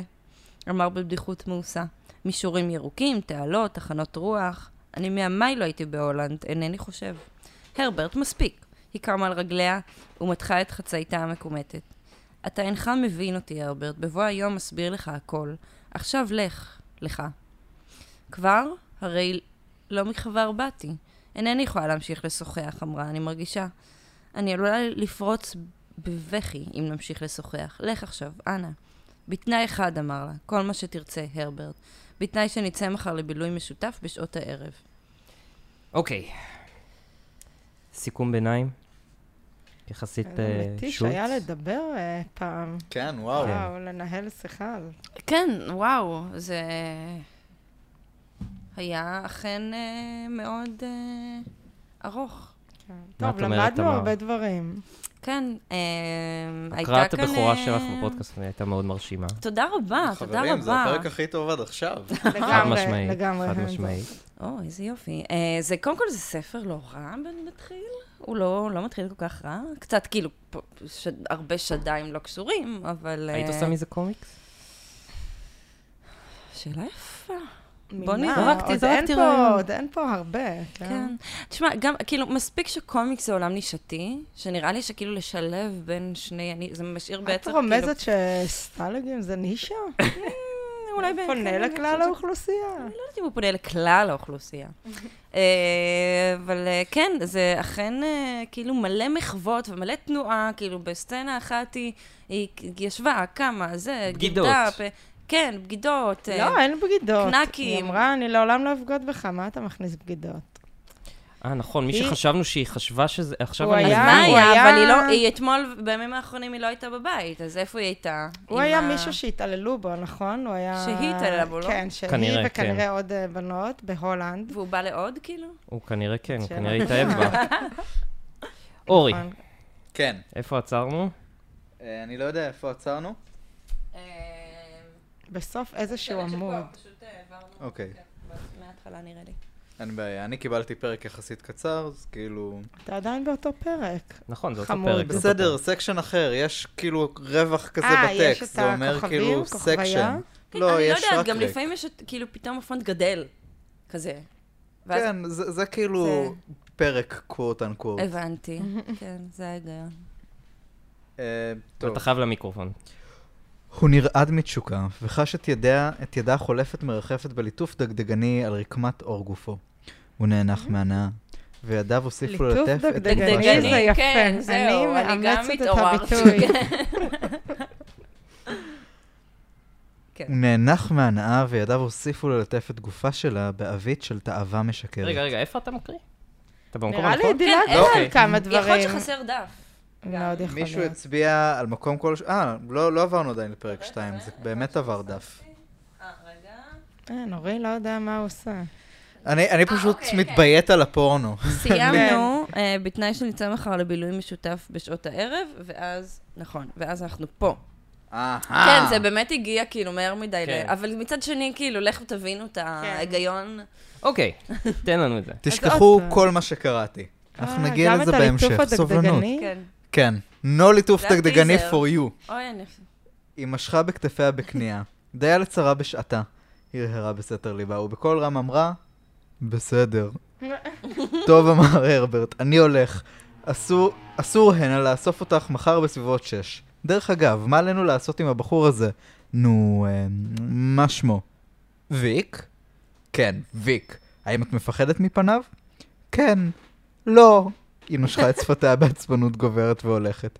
S3: אמר בבדיחות מאוסה. מישורים ירוקים, תעלות, תחנות רוח. אני מימיי לא הייתי בהולנד, אינני חושב. הרברט, מספיק. היא קמה על רגליה ומתחה את חצאיתה המקומטת. אתה אינך מבין אותי, הרברט. בבוא היום אסביר לך הכל. עכשיו לך. לך. כבר? הרי לא מכבר באתי. אינני יכולה להמשיך לשוחח, אמרה, אני מרגישה. אני עלולה לפרוץ בבכי אם נמשיך לשוחח. לך עכשיו, אנא. בתנאי אחד, אמר לה, כל מה שתרצה, הרברט. בתנאי שנצא מחר לבילוי משותף בשעות הערב.
S1: אוקיי. סיכום ביניים. יחסית
S4: איזה
S1: אה,
S4: מתיש
S1: שולץ.
S4: היה לדבר אה, פעם.
S2: כן, וואו.
S4: וואו, לנהל שיחה.
S3: כן, וואו, זה היה אכן אה, מאוד אה, ארוך.
S4: כן.
S1: מה
S4: טוב,
S1: את אומרת,
S4: למדנו
S1: תמר?
S4: הרבה דברים.
S3: כן, אה, הייתה כאן...
S1: הקראת הבכורה
S3: אה,
S1: שלך בפודקאסט הייתה מאוד מרשימה.
S3: תודה רבה, אה, תודה רבה.
S2: חברים, זה הפרק הכי טוב עד
S3: [laughs]
S2: עכשיו.
S1: חד
S4: לגמרי,
S1: משמעית.
S4: לגמרי.
S1: חד
S4: hands
S1: משמעית.
S3: או, איזה יופי. אה, זה, קודם כל, זה ספר לא רע במתחיל? הוא לא, לא מתחיל כל כך רע? קצת כאילו, פה, ש... הרבה שדיים לא קשורים, אבל...
S1: היית
S3: אה,
S1: עושה מזה קומיקס?
S3: שאלה יפה.
S4: off. ממה?
S3: בוא נראה. זרקתי-
S4: עוד אין
S3: זרקתי
S4: פה-
S3: רעיון.
S4: עוד אין פה הרבה. כן.
S3: כן. תשמע, גם, כאילו, מספיק שקומיקס זה עולם נישתי, שנראה לי שכאילו לשלב בין שני... אני, זה משאיר
S4: את
S3: בעצם, כאילו...
S4: רומזת שסטלגים זה
S3: [laughs]
S4: נישה? Mm,
S3: אה, אולי בין...
S4: פונה
S3: כן, אני
S4: לכלל
S3: חושבת ש-
S4: האוכלוסייה.
S3: לא יודעת אם הוא פונה לכלל
S4: [laughs]
S3: האוכלוסייה. אה, אבל אה, כן, זה אכן אה, כאילו מלא מחוות ומלא תנועה, כאילו בסצנה אחת היא, היא ישבה, קמה, זה,
S1: בגידות.
S3: גילדה, פ- כן, בגידות. אה,
S4: לא, אין בגידות. היא
S3: קנקים.
S4: אמרה, אני לעולם לא אבגוד בך, מה אתה מכניס בגידות?
S1: אה, נכון, מי
S4: היא-
S1: שחשבנו שהיא חשבה שזה... עכשיו
S4: הוא
S1: אני
S4: היה-
S1: מבין.
S3: מה
S4: הוא
S3: היה?
S4: היה-
S3: אבל היא לא, היא אתמול, בימים האחרונים היא לא הייתה בבית, אז איפה היא הייתה?
S4: הוא
S3: עם
S4: היה
S3: ה-
S4: מישהו שהתעללו בו, נכון? הוא היה...
S3: שהיא התעללה בו, לא?
S4: כן, שהיא
S1: כנראה,
S4: וכנראה עוד אה, בנות בהולנד.
S3: והוא בא לעוד, כאילו?
S1: הוא כנראה כן, הוא
S4: שאלה.
S1: כנראה התאהב בה.
S4: [laughs]
S1: אורי,
S4: נכון.
S2: כן.
S1: איפה עצרנו?
S2: אה, אני לא יודע איפה עצרנו.
S4: בסוף
S3: אה,
S4: איזשהו אה, עמוד.
S2: אוקיי.
S3: מההתחלה כן, נראה לי.
S2: אין בעיה. אני קיבלתי פרק יחסית קצר, אז כאילו...
S4: אתה עדיין באותו פרק.
S1: נכון, זה אותו
S4: חמוד.
S1: פרק. זה אותו
S2: בסדר,
S1: פרק.
S2: סקשן אחר, יש כאילו רווח כזה
S4: אה, יש
S2: בטקסט,
S4: את
S2: זה אומר
S4: הכוכבים,
S2: כאילו
S4: כוכביה?
S2: סקשן.
S3: כן, לא, אני לא
S2: יש
S3: יודעת,
S2: רק
S3: גם
S2: ריק.
S3: לפעמים יש, את- כאילו, פתאום הפונט גדל, כזה. ואז-
S2: כן, זה זה כאילו
S3: זה-
S2: פרק קוואט אנקוואט.
S3: הבנתי, כן, זה ההיגיון.
S2: אה, טוב.
S1: אתה חייב למיקרופון.
S2: הוא נרעד מתשוקה, וחש את ידיה, את ידה חולפת מרחפת בליטוף דגדגני על רקמת עור גופו. הוא נאנח מהנאה, וידיו הוסיפו
S4: Mm-hmm. ליטוף
S2: ללטף את
S4: דגדגני
S2: גופה
S4: זה
S2: שלה.
S4: יפה.
S3: כן,
S4: אני
S3: זהו, אני גם
S4: מאמצת את
S3: התעוררתי.
S4: הביטוי.
S3: כן.
S2: הוא נאנח מהנאה וידיו הוסיפו ללטף את גופה שלה בעבית של תאווה משקרת.
S1: רגע, רגע, איפה אתה מקריא? אתה במקום
S4: נראה לי
S1: הנכון?
S4: דילגת
S3: כן,
S4: על
S1: נכון, אוקיי.
S4: כמה
S3: יכול להיות
S4: דברים.
S3: שחסר דף.
S4: מאוד יכול
S2: מישהו
S4: להיות.
S2: הצביע על מקום כל... אה, לא לא עברנו עדיין לפרק 2, זה באמת עבר דף.
S3: אה, רגע.
S4: אה, נורי לא יודע מה הוא עושה.
S2: אני
S4: אה,
S2: אני פשוט
S3: אוקיי, כן.
S2: מתביית על הפורנו.
S4: כן,
S2: [laughs]
S3: סיימנו, אה, בתנאי שנצא מחר לבילוי משותף בשעות הערב, ואז, נכון, ואז אנחנו פה.
S2: אהה.
S3: כן, זה באמת הגיע כאילו מהר מדי, ל-
S1: כן.
S3: אבל מצד שני, כאילו, לכו תבינו את ההיגיון.
S1: אוקיי, תן לנו את
S4: [laughs]
S1: זה.
S2: תשכחו
S4: אז עוד
S2: כל מה שקראתי. אנחנו
S4: אה,
S2: נגיע
S4: גם
S2: לזה
S4: את הליטוף
S2: בהמשך, סובלנות.
S4: הדגדגני?
S3: כן.
S2: כן. No ליטוף
S3: זה
S2: דגדגני
S3: הטיזר.
S2: for you.
S3: אוי, אני...
S2: היא משכה בכתפיה בכניעה. דיה לצרה בשעתה. הרהרה בסתר ליבה, ובקול רם אמרה, בסדר.
S3: כן.
S4: [laughs]
S2: טוב אמר הרברט, אני הולך. אסור, אסור הנה לאסוף אותך מחר בסביבות שש. דרך אגב, מה עלינו לעשות עם הבחור הזה? נו, אה, מה שמו? ויק? כן, ויק. האם את מפחדת מפניו? כן. לא. היא נושכה את שפתיה בעצבנות גוברת והולכת.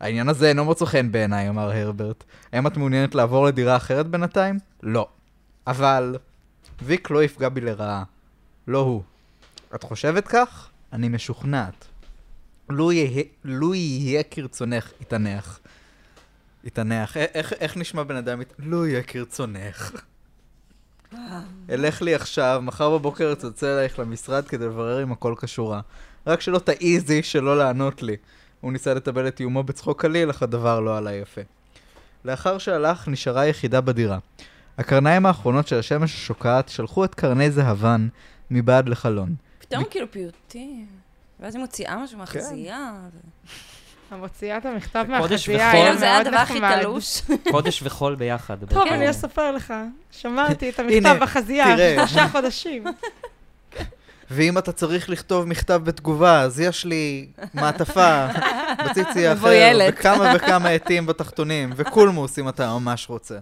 S2: העניין הזה אינו מוצא חן בעיניי, אמר הרברט. האם את מעוניינת לעבור לדירה אחרת בינתיים? לא. אבל... ויק לא יפגע בי לרעה. לא הוא. את חושבת כך? אני משוכנעת. לו יהיה, לו יהיה כרצונך, התענך. התענך. א- איך, איך נשמע בן אדם? מת- לו יהיה כרצונך. אלך לי עכשיו, מחר בבוקר אצלצל אלייך למשרד כדי לברר אם הכל כשורה. רק שלא תעיזי שלא לענות לי. הוא ניסה לטבל את איומו בצחוק קליל, אך הדבר לא עלה יפה. לאחר שהלך, נשארה היחידה בדירה. הקרניים האחרונות של השמש השוקעת שלחו את קרני זהבן מבעד לחלון.
S3: פתאום כאילו פיוטים. ואז היא מוציאה
S2: כן.
S3: משהו מהחזייה.
S4: המוציאה את המכתב
S1: זה קודש
S4: מהחזייה,
S1: וחול.
S4: היה
S1: כן,
S3: כאילו, זה היה
S4: מאוד
S3: הדבר הכי
S4: נחמד.
S3: תלוש. כן.
S1: קודש וחול ביחד.
S4: טוב,
S1: בטח.
S4: אני אספר לך. שמרתי את
S2: הנה,
S4: המכתב בחזייה
S2: תראה.
S4: שלושה חודשים. [laughs]
S2: ואם אתה צריך לכתוב מכתב בתגובה, אז יש לי מעטפה, בציצי אחר,
S3: מבוילת.
S2: וכמה וכמה עטים בתחתונים, וקולמוס אם אתה ממש רוצה.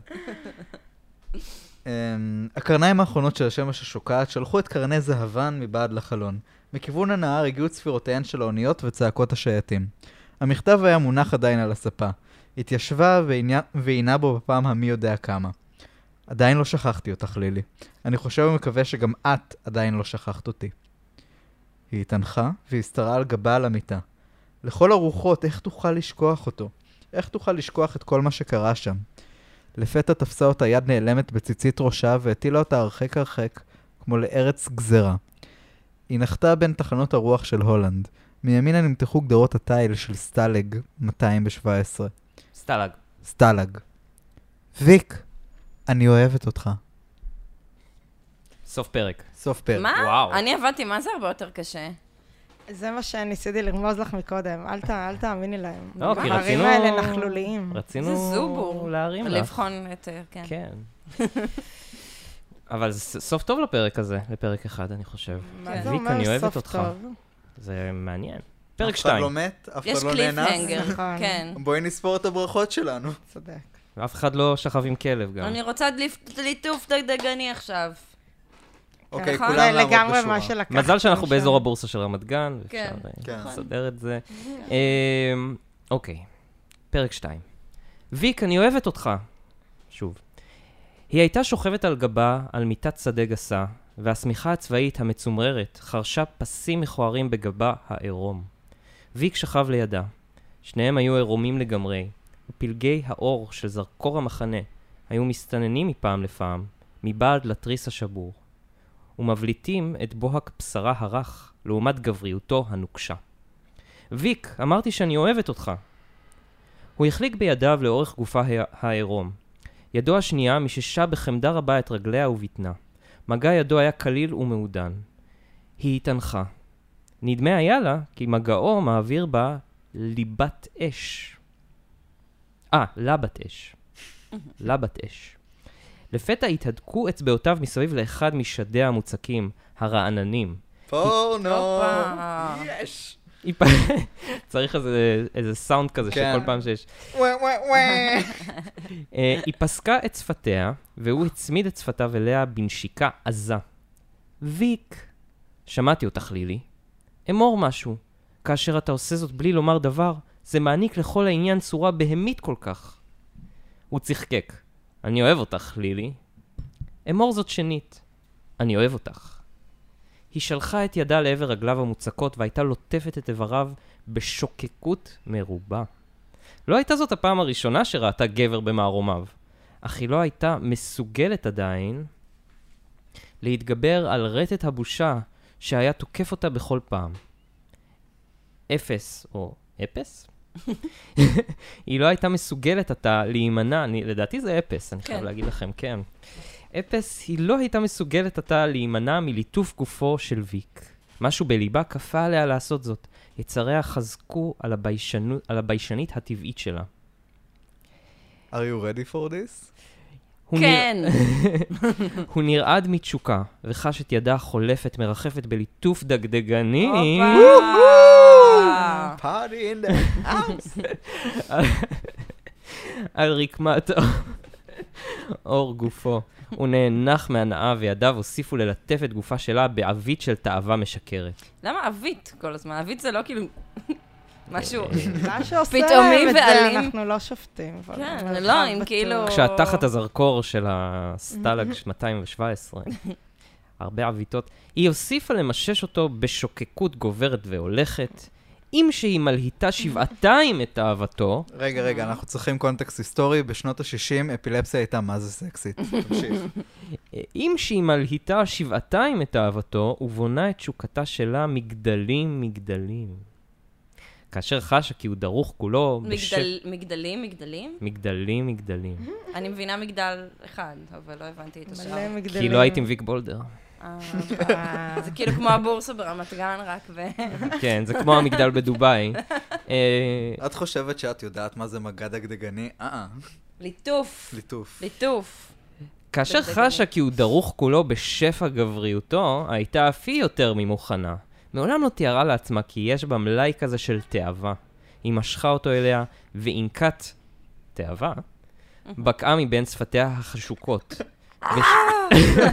S2: אמ, הקרניים האחרונות של השמש השוקעת שלחו את קרני זהבן מבעד לחלון. מכיוון הנהר הגיעו צפירותיהן של האוניות וצעקות השייטים. המכתב היה מונח עדיין על הספה. התיישבה ועינה- ועינה בו בפעם המי יודע כמה. עדיין לא שכחתי אותך, לילי. אני חושב ומקווה שגם את עדיין לא שכחת אותי. היא התאנחה והסתרה על גבה על המיטה. לכל הרוחות, איך תוכל לשכוח אותו? איך תוכל לשכוח את כל מה שקרה שם? לפתע תפסה אותה יד נעלמת בציצית ראשה והטילה אותה הרחק הרחק, כמו לארץ גזרה. היא נחתה בין תחנות הרוח של הולנד. מימינה נמתחו גדרות התיל של סטלג 217.
S1: סטלג.
S2: סטלג. ויק, אני אוהבת אותך.
S1: סוף פרק.
S2: סוף פרק.
S1: וואו.
S3: מה? אני הבנתי מה זה הרבה יותר קשה.
S4: זה מה שניסיתי לרמוז לך מקודם, אל ת- אל תאמיני להם.
S1: לא, כי
S4: הדברים
S1: רצינו...
S4: האלה נכלוליים.
S1: רצינו...
S3: זה זובור.
S1: להרים לך.
S3: לבחון את... אה, כן.
S1: כן.
S4: [laughs]
S1: אבל זה ס- סוף טוב לפרק הזה, לפרק אחד, אני חושב.
S3: כן.
S4: מה זה
S1: ויק,
S4: אומר
S1: אני אוהבת
S4: סוף
S1: אותך.
S4: טוב?
S1: זה מעניין. פרק
S2: אף אחד
S1: 2.
S2: לא מת, אף
S3: יש
S2: אחד לא נאנס.
S3: קליפהנגר,
S4: נכון.
S3: כן.
S2: בואי נספור את הברכות שלנו.
S4: צודק.
S1: אף אחד לא שכב עם כלב גם.
S3: אני רוצה דליפ- ליטוף דגדגני עכשיו.
S2: אוקיי,
S3: נכון.
S2: כולם
S4: כן. זה
S2: לעמוד
S4: לגמרי
S2: בשורה.
S4: מה שלקחת.
S1: מזל שאנחנו
S4: משם.
S1: באזור הבורסה של רמת גן,
S3: כן.
S1: ואפשר אה,
S4: נכון.
S2: כן.
S1: לסדר את זה. אמ, אוקיי, פרק 2. ויק, אני אוהבת אותך. שוב. היא הייתה שוכבת על גבה, על מיטת שדה גסה, והשמיכה הצבאית המצומררת חרשה פסים מכוערים בגבה העירום. ויק שכב לידה. שניהם היו עירומים לגמרי, ופלגי האור של זרקור המחנה היו מסתננים מפעם לפעם, מבעד לתריס השבור. ומבליטים את בוהק בשרה הרך לעומת גבריותו הנוקשה. ויק, אמרתי שאני אוהבת אותך. הוא החליק בידיו לאורך גופה הע- העירום. ידו השנייה מיששה בחמדה רבה את רגליה ובטנה. מגע ידו היה קליל ומעודן. היא התאנחה. נדמה היה לה כי מגעו מעביר בה ליבת אש. אה, לבת אש. לבת אש. לפתע התהדקו אצבעותיו מסביב לאחד משדיה המוצקים, הרעננים.
S2: פורנו!
S3: הופה.
S2: יש!
S1: היא פ- [laughs] צריך איזה, איזה סאונד כזה
S2: כן.
S1: שכל פעם שיש.
S2: וואי וואי וואי!
S1: אה, היא פסקה את שפתיה, והוא הצמיד את שפתיו אליה בנשיקה עזה. ויק, שמעתי אותך, לילי. אמור משהו. כאשר אתה עושה זאת בלי לומר דבר, זה מעניק לכל העניין צורה בהמית כל כך. הוא צחקק. אני אוהב אותך, לילי. אמור זאת שנית. אני אוהב אותך. היא שלחה את ידה לעבר רגליו המוצקות והייתה לוטפת את איבריו בשוקקות מרובה. לא הייתה זאת הפעם הראשונה שראתה גבר במערומיו, אך היא לא הייתה מסוגלת עדיין להתגבר על רטט הבושה שהיה תוקף אותה בכל פעם. אפס, או אפס? [laughs] היא לא הייתה מסוגלת עתה להימנע, אני, לדעתי זה אפס, אני חייב
S3: כן.
S1: להגיד לכם, כן. אפס, היא לא הייתה מסוגלת עתה להימנע מליטוף גופו של ויק. משהו בליבה כפה עליה לעשות זאת. יצריה חזקו על, הביישנו, על הביישנית הטבעית שלה.
S2: are you ready for this?
S1: הוא
S3: כן.
S1: הוא נרעד מתשוקה, וחש את ידה חולפת מרחפת בליטוף דגדגני
S3: הופה.
S2: party in the house!
S1: [laughs] על רקמת אור גופו. הוא נאנח מהנאה וידיו הוסיפו ללטף את גופה שלה בעבית של תאווה משקרת.
S3: [laughs] למה עווית כל הזמן? עווית זה לא כאילו... [laughs] משהו... [laughs]
S4: מה שעושה
S3: פתאומי
S4: להם את זה,
S3: ואלים.
S4: אנחנו לא שופטים. אבל
S3: כן,
S4: מרחב
S3: לא, אם
S4: בטוח.
S3: כאילו-
S1: כשהתחת הזרקור של הסטלג 217, הרבה עוויתות, היא הוסיפה למשש אותו בשוקקות גוברת והולכת, אם שהיא מלהיטה שבעתיים את אהבתו,
S2: רגע, רגע,
S3: אה.
S2: אנחנו צריכים קונטקסט היסטורי. בשנות ה-60 אפילפסיה הייתה מה זה סקסית. תמשיך.
S1: אם שהיא מלהיטה שבעתיים את אהבתו, ובונה את תשוקתה שלה מגדלים מגדלים. כאשר חשה כי הוא דרוך כולו
S3: מגדל- מגדלים, מגדלים?
S1: מגדלים מגדלים. לא
S3: אני מבינה מגדל אחד, אבל לא הבנתי את
S4: מלא
S3: השאר.
S4: מגדלים.
S1: כי לא הייתי עם ויק בולדר.
S3: אה,
S4: אה,
S3: [laughs] זה כאילו כמו הבורסה ברמת גן, רק ו...
S1: כן, זה כמו המגדל בדובאי. אה,
S2: את חושבת שאת יודעת מה זה מגע דגדגני? אה,
S3: [laughs] ליטוף.
S2: ליטוף.
S3: ליטוף.
S1: כאשר
S3: זה גדול.
S1: חשה כי הוא דרוך כולו בשפע גבריותו, הייתה אף היא יותר ממוכנה. מעולם לא תיארה לעצמה כי יש בה מלאי כזה של תאווה. היא משכה אותו אליה, ועינקת תאווה בקעה מבין שפתיה החשוקות. בש-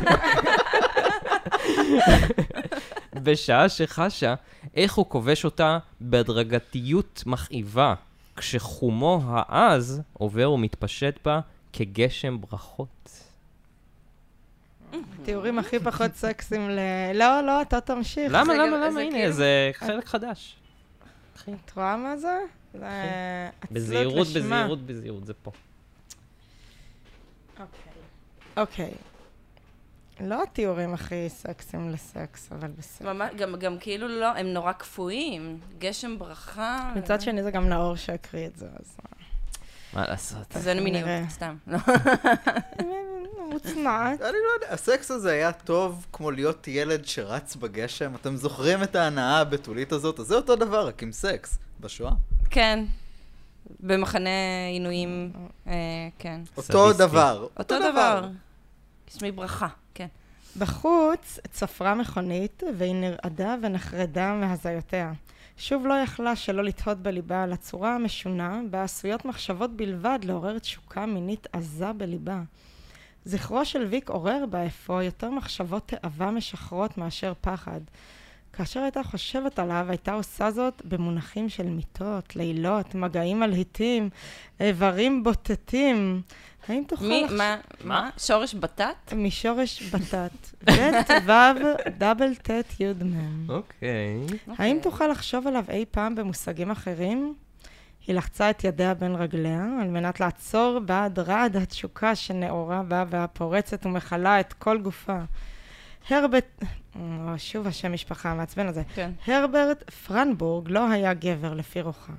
S1: בשעה שחשה איך הוא כובש אותה בהדרגתיות מכאיבה, כשחומו העז עובר ומתפשט בה כגשם ברכות.
S3: [laughs]
S4: תיאורים הכי פחות סקסים ל... לא, לא, אתה תמשיך.
S1: למה,
S3: זה גם-
S1: למה,
S3: זה
S1: למה? הנה,
S3: כאילו-
S1: זה חלק חדש.
S4: את רואה מה זה? זה עצלות
S1: בזהירות,
S4: לשמה.
S1: בזהירות, בזהירות, זה פה.
S4: אוקיי. לא התיאורים הכי סקסים לסקס, אבל בסדר.
S3: ממש, גם, גם כאילו לא, הם נורא קפואים. גשם ברכה.
S4: מצד שני זה גם נאור שהקריא את זה,
S3: [laughs]
S4: אז...
S1: מה לעשות?
S3: זה מיניות,
S4: נראה.
S3: סתם. לא. [laughs]
S4: מוצנעת.
S2: אני לא יודע, הסקס הזה היה טוב כמו להיות ילד שרץ בגשם. אתם זוכרים את ההנאה הבתולית הזאת? אז זה אותו דבר, רק עם סקס. בשואה.
S3: כן. במחנה עינויים, אה, כן.
S2: אותו
S1: סדיסטי.
S2: דבר.
S3: אותו דבר. שמי ברכה, כן.
S4: בחוץ צפרה מכונית, והיא נרעדה ונחרדה מהזיותיה. שוב לא יכלה שלא לתהות בליבה על הצורה המשונה, בה עשויות מחשבות בלבד לעורר תשוקה מינית עזה בליבה. זכרו של ויק עורר בה אפוא יותר מחשבות תאווה משחרות מאשר פחד. כאשר הייתה חושבת עליו, הייתה עושה זאת במונחים של מיטות, לילות, מגעים מלהיטים, איברים בוטטים. האם תוכל
S3: מי,
S4: לחשוב-
S3: מה, מה? שורש בטט?
S4: משורש בטט, בית וו דאבל טט יוד מם.
S1: אוקיי.
S4: האם תוכל לחשוב עליו אי פעם במושגים אחרים? היא לחצה את ידיה בין רגליה על מנת לעצור בעד רעד התשוקה שנעורה בה והפורצת ומכלה את כל גופה. הרבט... אה, שוב השם משפחה המעצבן הזה.
S3: כן.
S4: הרברט פרנבורג לא היה גבר לפי רוחה.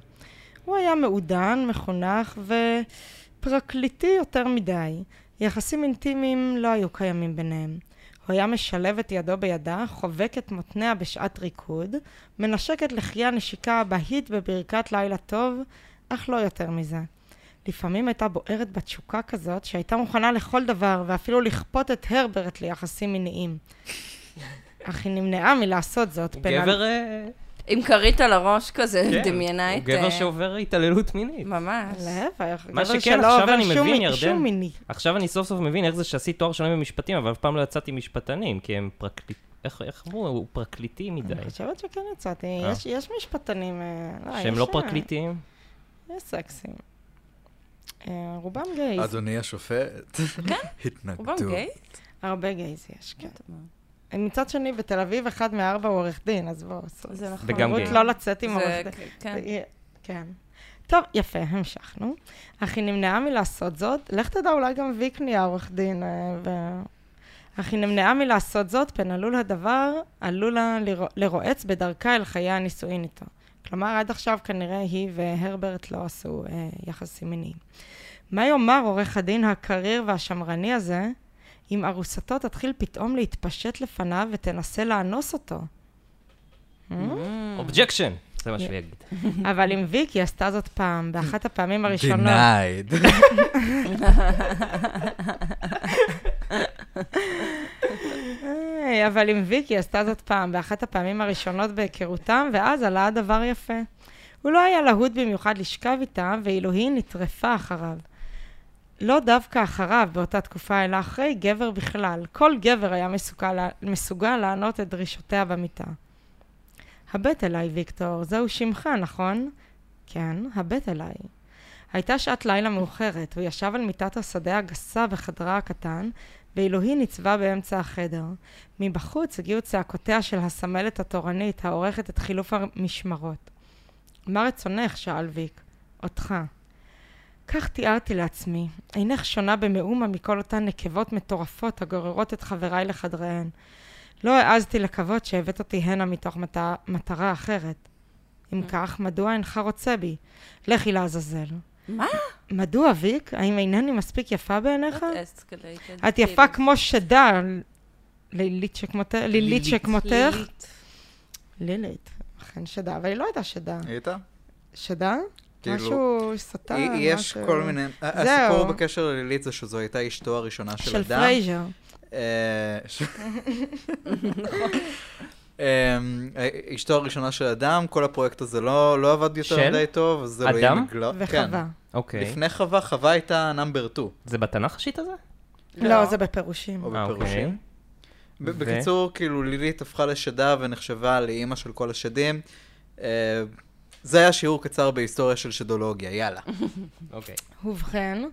S4: הוא היה מעודן, מחונך ופרקליטי יותר מדי. יחסים אינטימיים לא היו קיימים ביניהם. הוא היה משלב את ידו בידה, חובק את מותניה בשעת ריקוד, מנשק את לחיי הנשיקה הבהית בברכת לילה טוב, אך לא יותר מזה. לפעמים הייתה בוערת בתשוקה כזאת שהייתה מוכנה לכל דבר ואפילו לכפות את הרברט ליחסים מיניים. אך היא נמנעה מלעשות זאת.
S1: הוא
S4: בין
S1: גבר... אה,
S3: עם כרית על הראש כזה,
S1: כן.
S3: דמיינה את...
S1: הוא גבר
S3: אה,
S1: שעובר התעללות מינית.
S3: ממש.
S4: להפך,
S1: מה
S4: גבר
S1: שכן,
S4: שלא
S1: עכשיו
S4: עובר
S1: אני
S4: שום
S1: מבין,
S4: מי-
S1: ירדן.
S4: שום מיני.
S1: עכשיו אני סוף סוף מבין איך זה שעשית תואר שלם במשפטים, אבל אף פעם לא יצאתי משפטנים, כי הם פרקליט... איך איך אמרו? הוא פרקליטי מדי.
S4: אני חושבת שכן יצאתי.
S1: אה.
S4: יש- יש משפטנים... אה,
S1: שהם
S4: יש,
S1: לא
S4: אה,
S1: פרקליטים?
S4: יש סקסים. אה, רובם גייז,
S2: אדוני השופט,
S3: רובם
S2: התנגדו.
S3: גיי?
S4: הרבה גייז יש, כן.
S3: זאת אומרת.
S4: מצד שני, בתל אביב אחד מארבע הוא עורך דין, אז בואו,
S3: זה נכון.
S1: וגם
S4: סבירות
S1: גיי.
S4: לא לצאת עם
S3: זה-
S4: עורך דין.
S3: כן.
S4: זה- כן. טוב, יפה, המשכנו. אך היא נמנעה מלעשות זאת. לך תדע, אולי גם ויק נהיה עורך דין. אה, ו... אך היא נמנעה מלעשות זאת, פן עלול הדבר, עלול לה לרוע- לרועץ בדרכה אל חיי הנישואין איתו. כלומר, עד עכשיו כנראה היא והרברט לא עשו אה, יחסים מיניים. מה יאמר עורך הדין הקריר והשמרני הזה, אם ארוסתו תתחיל פתאום להתפשט לפניו ותנסה לאנוס אותו? Hmm?
S1: אובג'קשן! זה מה שהוא יגיד.
S4: אבל עם ויקי עשתה זאת פעם, באחת הפעמים הראשונות.
S2: Denied.
S4: היי, אה, אבל עם ויקי עשתה זאת פעם, באחת הפעמים הראשונות בהיכרותם, ואז עלה הדבר יפה. הוא לא היה להוט במיוחד לשכב איתה, ואילו היא נטרפה אחריו. לא דווקא אחריו, באותה תקופה, אלא אחרי גבר בכלל. כל גבר היה מסוגל, מסוגל לענות את דרישותיה במיטה. הבט אליי, ויקטור, זהו שמך, נכון? כן, הבט אליי. הייתה שעת לילה מאוחרת, הוא ישב על מיטת השדה הגסה בחדרה הקטן, ואילו היא ניצבה באמצע החדר. מבחוץ הגיעו צעקותיה של הסמלת התורנית, העורכת את חילוף המשמרות. מה רצונך? שאל ויק. אותך. כך תיארתי לעצמי. אינך שונה במאומה מכל אותן נקבות מטורפות הגוררות את חבריי לחדריהן. לא העזתי לקוות שהבאת אותי הנה מתוך מת... מטרה אחרת. אם כך, מדוע אינך רוצה בי? לכי לעזאזל.
S3: מה?
S4: מדוע, ויק? האם אינני מספיק יפה בעיניך?
S3: What escalated
S4: אה, את יפה
S3: feelings.
S4: כמו שדה, לילית שכמותך, לילית שכמותך.
S3: לילית.
S4: לילית, אכן שדה, אבל היא לא הייתה שדה.
S2: היא הייתה?
S4: שדה?
S2: אה, כאילו,
S4: משהו שטן,
S2: היא-
S4: משהו...
S2: יש כל מיני...
S4: זהו.
S2: הסיפור בקשר ללילית זה שזו הייתה אשתו הראשונה של
S4: של
S2: אדם.
S4: פרייזר.
S2: אה, ש- [laughs] אמ, אשתו הראשונה של אדם, כל הפרויקט הזה לא לא עבד
S1: של?
S2: יותר מדי טוב, אז זה לא כן.
S1: אדם?
S4: וחווה.
S1: אוקיי.
S2: לפני חווה, חווה הייתה נאמבר 2,
S1: זה בתנ"ך השיט הזה?
S4: לא, זה בפירושים.
S2: או
S1: אה, אוקיי.
S2: בפירושים. ב- בקיצור, כאילו לילית הפכה לשדה ונחשבה לאימא של כל השדים. אה, זה היה שיעור קצר בהיסטוריה של שדולוגיה, יאללה.
S1: אוקיי.
S4: ובכן,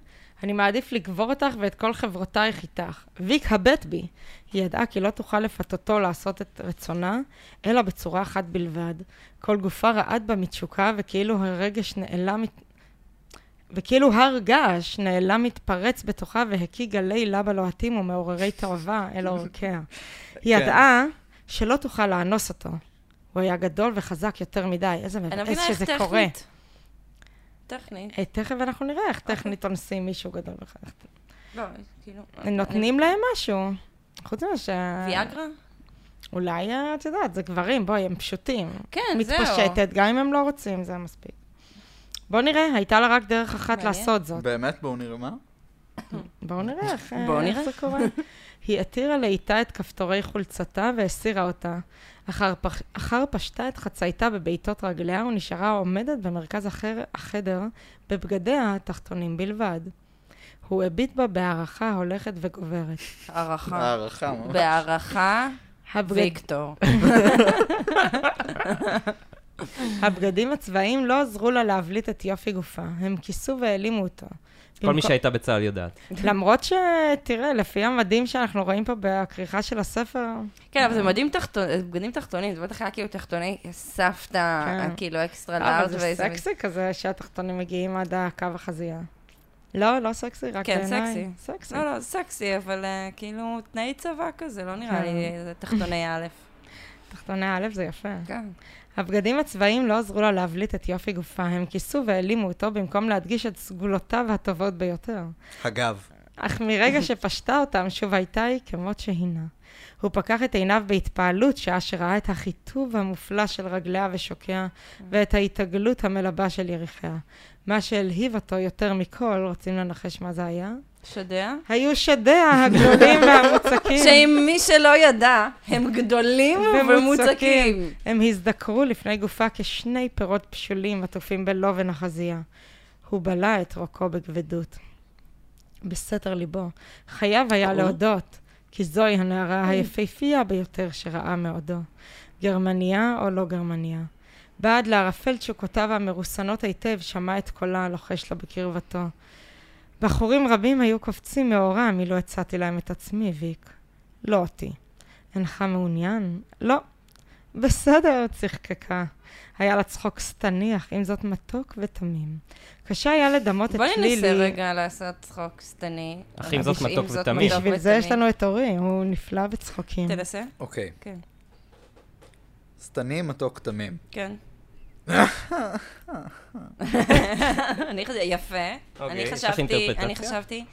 S4: אני מעדיף לקבור אותך ואת כל חברותייך איתך. ויק הבט בי. היא ידעה כי לא תוכל לפתותו לעשות את רצונה, אלא בצורה אחת בלבד. כל גופה רעד בה מתשוקה, וכאילו הרגש נעלם... מת- וכאילו הר געש נעלם מתפרץ בתוכה והקיא גלי לבה לוהטים ומעוררי תאווה אל עורקיה. היא
S2: כן.
S4: ידעה שלא תוכל לאנוס אותו. הוא היה גדול וחזק יותר מדי, איזה
S3: אני
S4: מבאס
S3: מבינה איך
S4: שזה
S3: טכנית.
S4: קורה.
S3: טכנית.
S4: אה, תכף אנחנו נראה איך
S3: אוקיי.
S4: טכנית אונסים מישהו גדול וחזק.
S3: לא, כאילו...
S4: נותנים להם משהו. חוץ מזה ש...
S3: ויאגרה?
S4: אולי, אה, את יודעת, זה גברים, בואי, הם פשוטים.
S3: כן, זהו.
S4: מתפשטת, גם אם הם לא רוצים, זה מספיק. בואו נראה, הייתה לה רק דרך אחת
S3: מעניין.
S4: לעשות [laughs] זאת.
S2: באמת, בואו נראה מה.
S4: בואו נראה איך אה,
S3: בואו
S4: איך
S3: נראה.
S4: זה קורה. [laughs] היא התירה לאיתה את כפתורי חולצתה והסירה אותה. אחר, פח, אחר פשטה את חצייתה בבעיטות רגליה ונשארה עומדת במרכז החר, החדר בבגדיה התחתונים בלבד. הוא הביט בה בהערכה הולכת וגוברת.
S3: הערכה.
S2: הערכה ממש.
S3: בהערכה,
S4: הבגד,
S3: ויקטור.
S4: הבגדים הצבאיים לא עזרו לה להבליט את יופי גופה, הם כיסו והעלימו אותו.
S1: כן, כל מי שהייתה בצה"ל יודעת.
S4: למרות ש... תראה, לפי המדים שאנחנו רואים פה בכריכה של הספר,
S3: כן, אבל זה מדהים תחתון, זה בגדים תחתונים, זה בטח היה כאילו תחתוני סבתא,
S4: כן.
S3: כאילו אקסטרה
S4: אבל
S3: לארג'
S4: זה
S3: ואיזה...
S4: סקסי כזה שהתחתונים מגיעים עד הקו החזייה. לא, לא סקסי, רק
S3: כן,
S4: בעיניי.
S3: סקסי.
S4: סקסי.
S3: לא, לא, זה סקסי, אבל אה, כאילו תנאי צבא כזה, לא נראה
S4: כן.
S3: לי, זה תחתוני א'.
S4: תחתוני א' זה יפה.
S3: כן.
S4: הבגדים הצבאיים לא עזרו לה להבליט את יופי גופה, הם כיסו והעלימו אותו במקום להדגיש את סגולותיו הטובות ביותר.
S2: אגב,
S4: אך
S3: [laughs]
S4: מרגע שפשטה אותם, שוב הייתה היא כמות שהינה. הוא פקח את עיניו בהתפעלות שעה שראה את החיטוב המופלא של רגליה ושוקיה, ואת ההתעגלות המלבה של יריחיה. מה שהלהיב אותו יותר מכל, רוצים לנחש מה זה היה?
S3: שדע?
S4: היו שדיה הגדולים והמוצקים.
S3: שאם מי שלא ידע, הם גדולים
S4: ומוצקים.
S3: ומוצקים.
S4: הם הזדקרו לפני גופה כשני פירות פשולים עטופים בלובן החזייה. הוא בלע את רוקו בכבדות. בסתר ליבו, חייב היה להודות, כי זוהי
S3: Mm.
S4: הנערה היפהפייה ביותר שראה מעודו. גרמניה או לא גרמניה. בעד לערפל תשוקותיו המרוסנות היטב, שמע את קולה הלוחש לה בקרבתו. בחורים רבים היו קופצים מאורם אילו הצעתי להם את עצמי, ויק. לא אותי. אינך מעוניין? לא. בסדר, צחקקה. היה לה צחוק שטניח, עם זאת מתוק ותמים. קשה היה לדמות את
S3: בואי
S4: לילי.
S3: ננסה רגע לעשות צחוק שטני.
S1: אך אם זאת
S3: אבל
S1: מתוק ותמים.
S3: מתוק
S4: בשביל זה יש
S3: ותמים.
S4: לנו את אורי, הוא נפלא בצחוקים.
S3: תנסה?
S2: אוקיי.
S3: כן.
S2: שטני מתוק תמים.
S4: [laughs]
S3: כן. אני חשבתי, יפה.
S1: אוקיי,
S3: אני
S1: יש לך
S3: חשבתי,
S1: אינטרפרטציה?
S3: אני
S4: [laughs]
S3: חשבתי,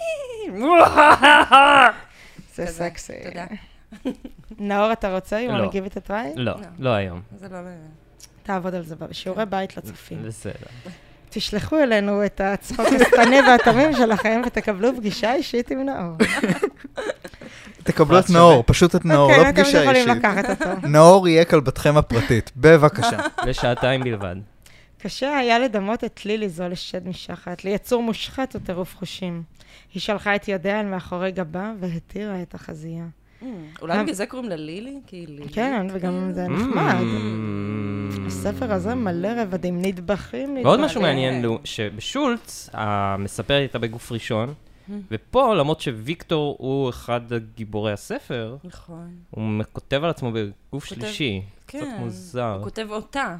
S1: אה,
S4: זה
S3: כזה.
S4: סקסי.
S3: תודה.
S4: [laughs] נאור, אתה רוצה? אם
S1: לא.
S4: הוא מגיב את הטריי?
S1: לא,
S3: לא.
S1: לא היום.
S3: זה לא...
S4: תעבוד על זה בשיעורי בית לצופים.
S1: בסדר.
S4: תשלחו אלינו את הצחוק השטני והתמים שלכם ותקבלו פגישה אישית עם נאור.
S2: תקבלו את
S1: פרס
S2: נאור,
S1: שווה.
S2: פשוט את נאור,
S4: אוקיי,
S2: לא פגישה
S4: אתם יכולים
S2: אישית.
S4: לקחת אותו.
S2: נאור יהיה כלבתכם הפרטית, [laughs] בבקשה.
S1: לשעתיים בלבד.
S4: קשה היה לדמות את לילי זו לשד משחת, ליצור מושחת וטירוף חושים. היא שלחה את ידיה אל מאחורי גבה והתירה את החזייה.
S1: Mm.
S3: אולי בגלל זה קוראים לה לילי? כי היא לילי.
S4: Mm. אה. כן, וגם זה נחמד.
S1: Mm.
S4: הספר הזה מלא רבדים, נדבכים.
S1: ועוד
S4: נדבכים.
S1: משהו מעניין הוא שבשולץ, המספרת הייתה בגוף ראשון,
S3: Mm.
S1: ופה, למרות שוויקטור הוא אחד הגיבורי הספר,
S3: נכון.
S1: הוא כותב על עצמו בגוף
S3: כותב-
S1: שלישי.
S3: כן.
S1: קצת מוזר.
S3: הוא כותב אותה.
S1: אה.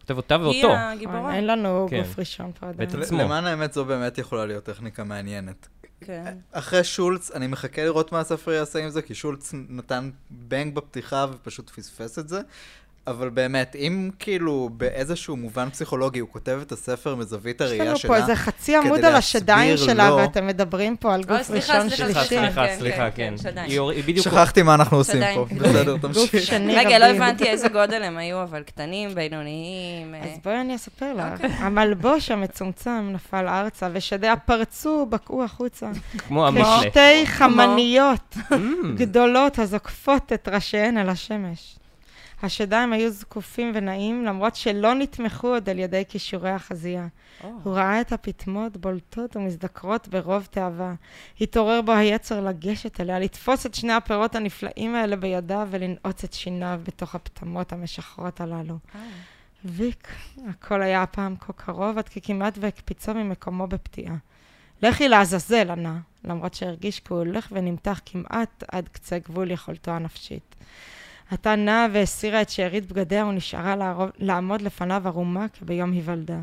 S1: כותב אותה
S3: היא
S1: ואותו.
S3: הגיבורה.
S4: אה, אין לנו
S1: כן.
S4: גוף ראשון פה עדיין.
S1: בטח. עצמו.
S2: למען האמת, זו באמת יכולה להיות טכניקה מעניינת.
S3: כן.
S2: אחרי שולץ, אני מחכה לראות מה הספר יעשה עם זה, כי שולץ נתן בנג בפתיחה ופשוט פספס את זה. אבל באמת, אם כאילו באיזשהו מובן פסיכולוגי הוא כותב את הספר מזווית
S4: יש
S2: הראייה
S4: לנו
S2: שלה,
S4: פה איזה חצי עמוד
S2: כדי
S4: על השדיים
S2: להסביר
S4: שלה,
S2: לו-
S4: ואתם מדברים פה על
S3: אוי,
S4: גוף
S3: סליחה,
S4: ראשון
S3: סליחה,
S4: שלישי.
S3: סליחה.
S1: סליחה,
S3: כן,
S1: סליחה,
S3: כן,
S1: כן.
S3: שדיים.
S1: היא אור- היא בדיוק...
S2: שכחתי מה אנחנו עושים
S3: שדיים.
S2: פה.
S3: [laughs]
S2: בסדר,
S4: גוף
S2: תמשיך.
S4: שני
S3: רגע, לא
S4: רבים.
S3: הבנתי איזה גודל הם היו, אבל קטנים, בינוניים. אה,
S4: אז בואי אני אספר לך.
S3: אוקיי.
S4: המלבוש המצומצם נפל ארצה, ושדיה פרצו, בקעו החוצה.
S1: כמו המשלה.
S4: כשתי חמניות
S2: Hmm.
S1: Mm.
S4: גדולות הזוקפות את ראשיהן אל השמש. השדיים היו זקופים ונעים, למרות שלא נתמכו עוד על ידי כישורי החזייה.
S3: או.
S4: הוא ראה את הפטמות בולטות ומזדקרות ברוב תאווה. התעורר בו היצר לגשת אליה, לתפוס את שני הפירות הנפלאים האלה בידיו ולנעוץ את שיניו בתוך הפטמות המשחרות הללו.
S3: אה.
S4: ויק, הכל היה הפעם כה קרוב, עד כי כמעט והקפיצו ממקומו בפתיעה. לכי לעזאזל, ענה, למרות שהרגיש כי הוא הולך ונמתח כמעט עד קצה גבול יכולתו הנפשית. עתה נעה והסירה את שארית בגדיה ונשארה לערוב, לעמוד לפניו ערומה כביום היוולדה.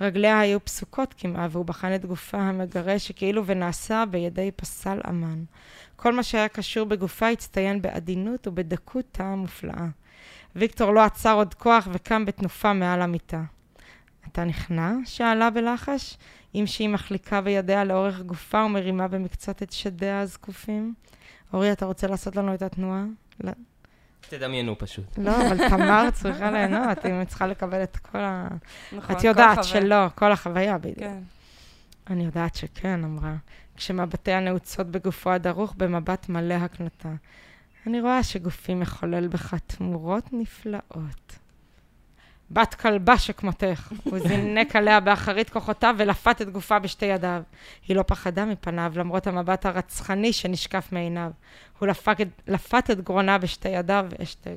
S4: רגליה היו פסוקות כמעט, והוא בחן את גופה המגרה שכאילו ונעשה בידי פסל אמן. כל מה שהיה קשור בגופה הצטיין בעדינות ובדקות טעם מופלאה. ויקטור לא עצר עוד כוח וקם בתנופה מעל המיטה. אתה נכנע? שאלה בלחש, עם שהיא מחליקה בידיה לאורך גופה ומרימה במקצת את שדיה הזקופים. אורי, אתה רוצה לעשות לנו את התנועה? לא,
S1: תדמיינו פשוט.
S4: לא אבל תמר צריכה ליהנות, אם היא צריכה לקבל את כל ה...
S3: נכון,
S4: את
S3: כל
S4: יודעת
S3: חבר.
S4: שלא, כל החוויה בדיוק.
S3: כן.
S4: אני יודעת שכן, אמרה, כשמבטיה נעוצות בגופו הדרוך במבט מלא הקנטה. אני רואה שגופי מחולל בך תמורות נפלאות. בת כלבה שכמותך. הוא זינק עליה באחרית כוחותיו ולפת את גופה בשתי ידיו. היא לא פחדה מפניו, למרות המבט הרצחני שנשקף מעיניו. הוא לפק, את- לפת את גרונה בשתי ידיו, אשתג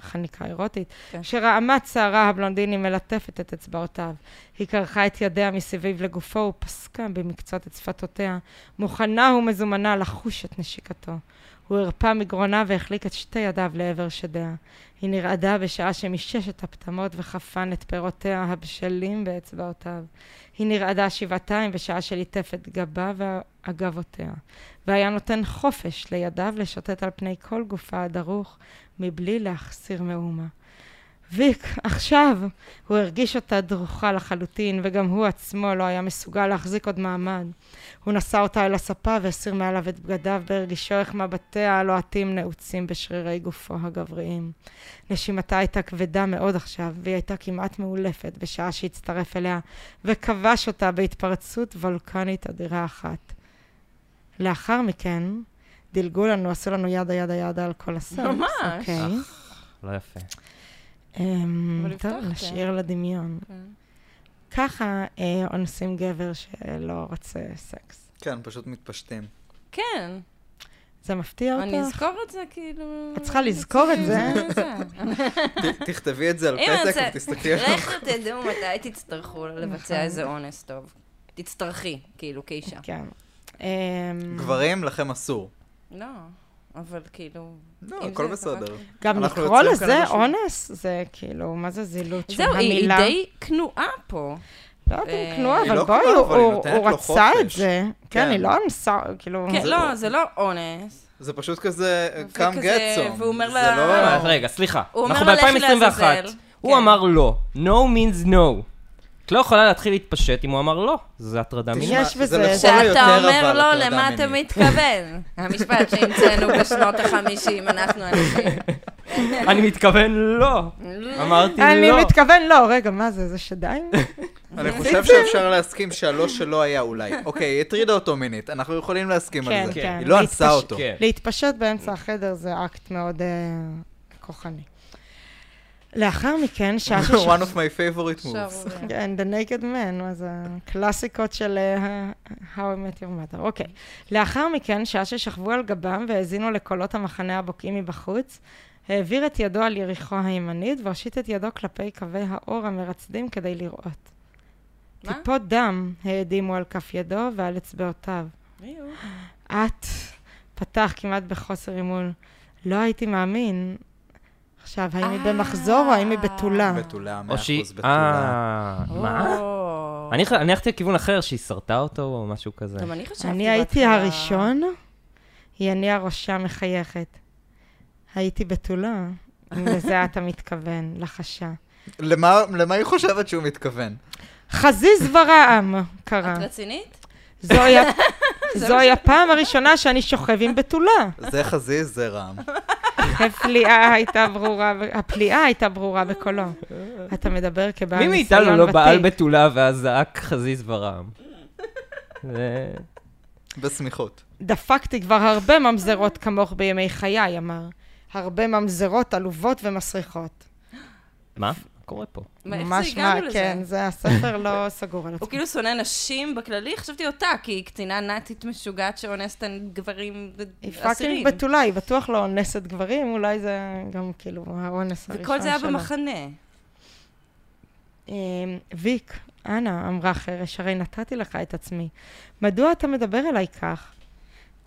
S4: חניקה אירוטית,
S3: כן.
S4: שראמת שערה הבלונדיני מלטפת את אצבעותיו. היא קרחה את ידיה מסביב לגופו ופסקה במקצת את שפתותיה, מוכנה ומזומנה לחוש את נשיקתו. הוא הרפה מגרונה והחליק את שתי ידיו לעבר שדיה. היא נרעדה בשעה שמישש את הפטמות וחפן את פירותיה הבשלים באצבעותיו. היא נרעדה שבעתיים בשעה שליטף את גבה ואגבותיה, והיה נותן חופש לידיו לשוטט על פני כל גופה הדרוך, מבלי להחסיר מאומה. ויק, עכשיו! הוא הרגיש אותה דרוכה לחלוטין, וגם הוא עצמו לא היה מסוגל להחזיק עוד מעמד. הוא נשא אותה אל הספה והסיר מעליו את בגדיו בהרגישו איך מבטיה הלוהטים נעוצים בשרירי גופו הגבריים. נשימתה הייתה כבדה מאוד עכשיו, והיא הייתה כמעט מאולפת בשעה שהצטרף אליה, וכבש אותה בהתפרצות וולקנית אדירה אחת. לאחר מכן, דילגו לנו, עשו לנו ידה ידה ידה על כל הסרט.
S3: ממש.
S4: אוקיי.
S1: לא יפה.
S4: אמ,
S3: אבל
S4: טוב,
S3: הבטחת.
S4: נשאיר לדמיון.
S3: כן.
S4: ככה אה, אונסים גבר שלא רוצה סקס.
S2: כן, פשוט מתפשטים.
S3: כן,
S4: זה מפתיע אותך?
S3: אני אזכור את זה, כאילו...
S4: את צריכה לזכור את זה.
S2: ת- תכתבי את זה על
S3: אם אני
S2: פתק
S3: רוצה-
S2: ותסתכלי עליו.
S4: נכון.
S3: לך תדעו מתי תצטרכו לבצע איזה אונס טוב. תצטרכי, כאילו, כאישה.
S4: כן. אמ,
S2: גברים, לכם אסור.
S4: אוקיי.
S3: לא, אבל כאילו...
S2: לא,
S3: אם
S2: הכל
S3: זה אוקיי.
S2: בסדר.
S3: דבר-
S4: גם
S2: אנחנו
S4: לקרוא
S2: יוצרים כאן
S4: לזה
S2: איזשהו-
S4: אונס, זה כאילו, מה זה זילות של
S3: זהו, היא היא
S4: המילה?
S3: די כנועה פה.
S4: לא יודעת
S3: אה,
S4: אם כנועה,
S2: היא
S4: אבל
S2: לא
S4: בואי,
S2: כנועה, אבל היא
S4: הוא-
S2: נותנת
S4: הוא
S2: לו
S4: רצה את
S2: חופש.
S4: זה. כן,
S2: כן.
S4: היא לא אנסה, כאילו...
S3: כן,
S2: זה-
S3: לא, זה לא אונס.
S2: זה פשוט כזה,
S3: זה
S2: come
S3: כזה-
S2: get some.
S3: והוא אומר
S2: זה
S3: לה-
S2: לא-
S1: אה, אז רגע, סליחה.
S3: אה. הוא אומר
S1: אנחנו
S3: לה, "לכי
S1: ב-2021.
S3: לעזאזל".
S1: הוא
S3: כן.
S1: אמר לא. No means no. את לא יכולה להתחיל להתפשט אם הוא אמר לא. זה הטרדה מינית.
S2: תשמע,
S4: יש
S2: זה
S4: בזה-
S2: לכל
S3: כשאתה
S2: היותר,
S3: אומר
S2: אבל
S3: לא,
S2: הטרדה
S3: למה אתה
S2: מינית.
S3: מתכוון? המשפט שהמצאנו בשנות החמישים, אנחנו אנשים.
S1: אני מתכוון לא. אמרתי
S4: אני
S1: לא.
S4: מתכוון, לא, רגע, מה זה, זה
S2: [laughs]
S4: שדיים?
S2: אני חושב שאפשר להסכים שהלא שלו היה אולי. אוקיי, היא הטרידה אותו מינית, אנחנו יכולים להסכים על
S4: כן,
S2: זה.
S4: כן.
S2: היא לא אנסה
S4: להתפש-
S2: אותו.
S1: כן.
S4: להתפשט באמצע החדר זה אקט מאוד אה, כוחני. לאחר מכן, שעה שש...
S2: [laughs] one of my favorite moves.
S3: שערוריה.
S4: כן, The Naked Man, אז הקלאסיקות של אה, How I Met Your Mother. אוקיי. לאחר מכן, שעה ששכבו על גבם והאזינו לקולות המחנה הבוקעים מבחוץ, העביר את ידו על יריחו הימנית והושיט את ידו כלפי קווי האור המרצדים כדי לראות.
S3: מה?
S4: טיפות דם העדימו על כף ידו ועל אצבעותיו. את פתח כמעט בחוסר אמון. לא הייתי מאמין. עכשיו, האם היא
S3: אה.
S4: במחזור או האם היא בתולה?
S2: בתולה, מאה
S1: או שהיא...
S2: אחוז בתולה.
S1: אה, מה?
S3: מה?
S1: אני ח- אני הלכתי לכיוון אחר, שהיא שרטה אותו או משהו כזה.
S3: גם אני חשבתי
S4: אני הייתי
S3: בהתחלה-
S4: הראשון, היא הניעה ראשה מחייכת. הייתי
S3: [laughs]
S4: בתולה, אם לזה אתה מתכוון, לחשה.
S2: למה למה היא חושבת שהוא מתכוון?
S4: חזיז ורעם, קרה.
S3: את רצינית?
S4: זוהי ה-
S3: [laughs] זה לא
S4: זוהי הפעם הראשונה שאני שוכב עם בתולה.
S2: זה חזיז, זה רעם.
S4: הפליאה הייתה ברורה, ב- הפליאה הייתה ברורה בקולו. אתה מדבר כבעל
S1: מי
S4: ניסיון ותיק.
S1: מאיתנו לא בעל בתולה ואז זעק חזיז
S4: [laughs]
S1: ורעם? זה-
S2: בשמיכות.
S4: דפקתי כבר הרבה ממזרות כמוך בימי חיי, אמר. הרבה ממזרות עלובות ומסריחות.
S1: מה? מה קורה פה?
S3: מה, איך זה
S4: ממש
S3: הגענו
S4: מה,
S3: לזה?
S4: כן, זה הספר
S3: [laughs]
S4: לא סגור על עצמו.
S3: הוא כאילו שונא נשים בכללי, חשבתי אותה, כי היא קצינה נאצית משוגעת שאונסת גברים
S4: היא פאקינג
S3: אסירים.
S4: בתולה, היא בטוח לא אונסת גברים, אולי זה גם כאילו האונס הראשון שלו.
S3: וכל זה היה במחנה.
S4: אמ, ויק, אנא, אמרה חרש, הרי נתתי לך את עצמי. מדוע אתה מדבר אליי כך?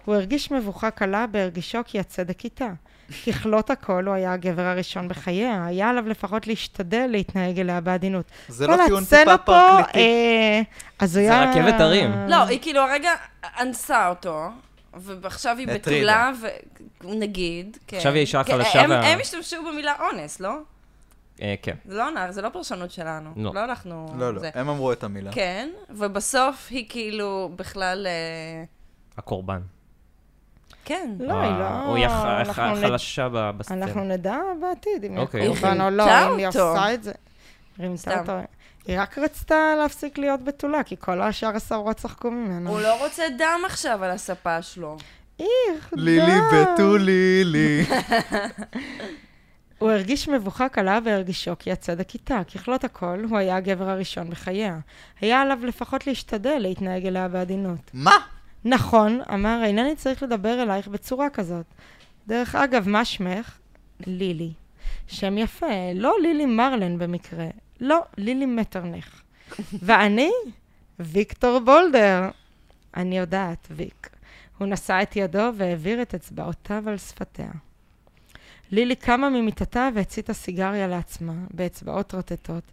S4: הוא הרגיש מבוכה קלה בהרגישו כי הצדק איתה. ככלות הכל, הוא היה הגבר הראשון בחייה, היה עליו לפחות להשתדל להתנהג אליה בעדינות.
S2: זה לא
S4: כל
S2: טיעון
S4: הסצנה
S2: טיפה
S4: פה,
S2: פרקליטי.
S4: אה, הזויה...
S1: רכבת הרים.
S4: אה.
S3: לא, היא כאילו הרגע אנסה אותו, ועכשיו היא
S2: הטרידה.
S3: בתולה, ו- נגיד. כן.
S1: עכשיו היא האישה
S3: כן,
S1: החלשה
S3: הם-
S1: וה-
S3: הם השתמשו במילה אונס, לא?
S1: אה, כן.
S3: זה לא נער, זה לא פרשנות שלנו.
S1: לא.
S3: לא
S4: אה,
S3: אנחנו...
S2: לא, לא,
S3: זה.
S2: הם אמרו את המילה.
S3: כן, ובסוף היא כאילו בכלל... אה,
S1: הקורבן.
S3: כן.
S4: לא, היא לא...
S1: או היא הח-
S4: אנחנו
S1: הח-
S4: נ-
S1: חלשה ב-
S4: אנחנו
S1: בסצנה.
S4: נדע בעתיד אם היא
S1: אוקיי.
S4: קורבן או
S3: היא
S4: לא,
S3: רימתה
S4: אם היא
S3: אותו.
S4: עושה את זה. רימתה
S3: סתם.
S4: אותו. היא רק רצתה להפסיק להיות בתולה, כי כל השאר הסוהרות צחקו ממנה.
S3: הוא לא רוצה דם עכשיו על הספה שלו.
S4: איך,
S2: לילי
S4: די.
S2: בתולי
S4: [laughs]
S2: לי.
S4: הוא הרגיש מבוכה קלה והרגישו כי הצדק איתה. ככלות הכל, הוא היה הגבר הראשון בחייה. היה עליו לפחות להשתדל להתנהג אליה בעדינות.
S2: מה?
S4: נכון, אמר, אינני צריך לדבר אלייך בצורה כזאת. דרך אגב, מה שמך? לילי. שם יפה, לא לילי מרלן במקרה, לא לילי מטרנך. ואני? ויקטור בולדר. אני יודעת, ויק. הוא נשא את ידו והעביר את אצבעותיו על שפתיה. לילי קמה ממיטתה והציתה סיגריה לעצמה, באצבעות רוטטות.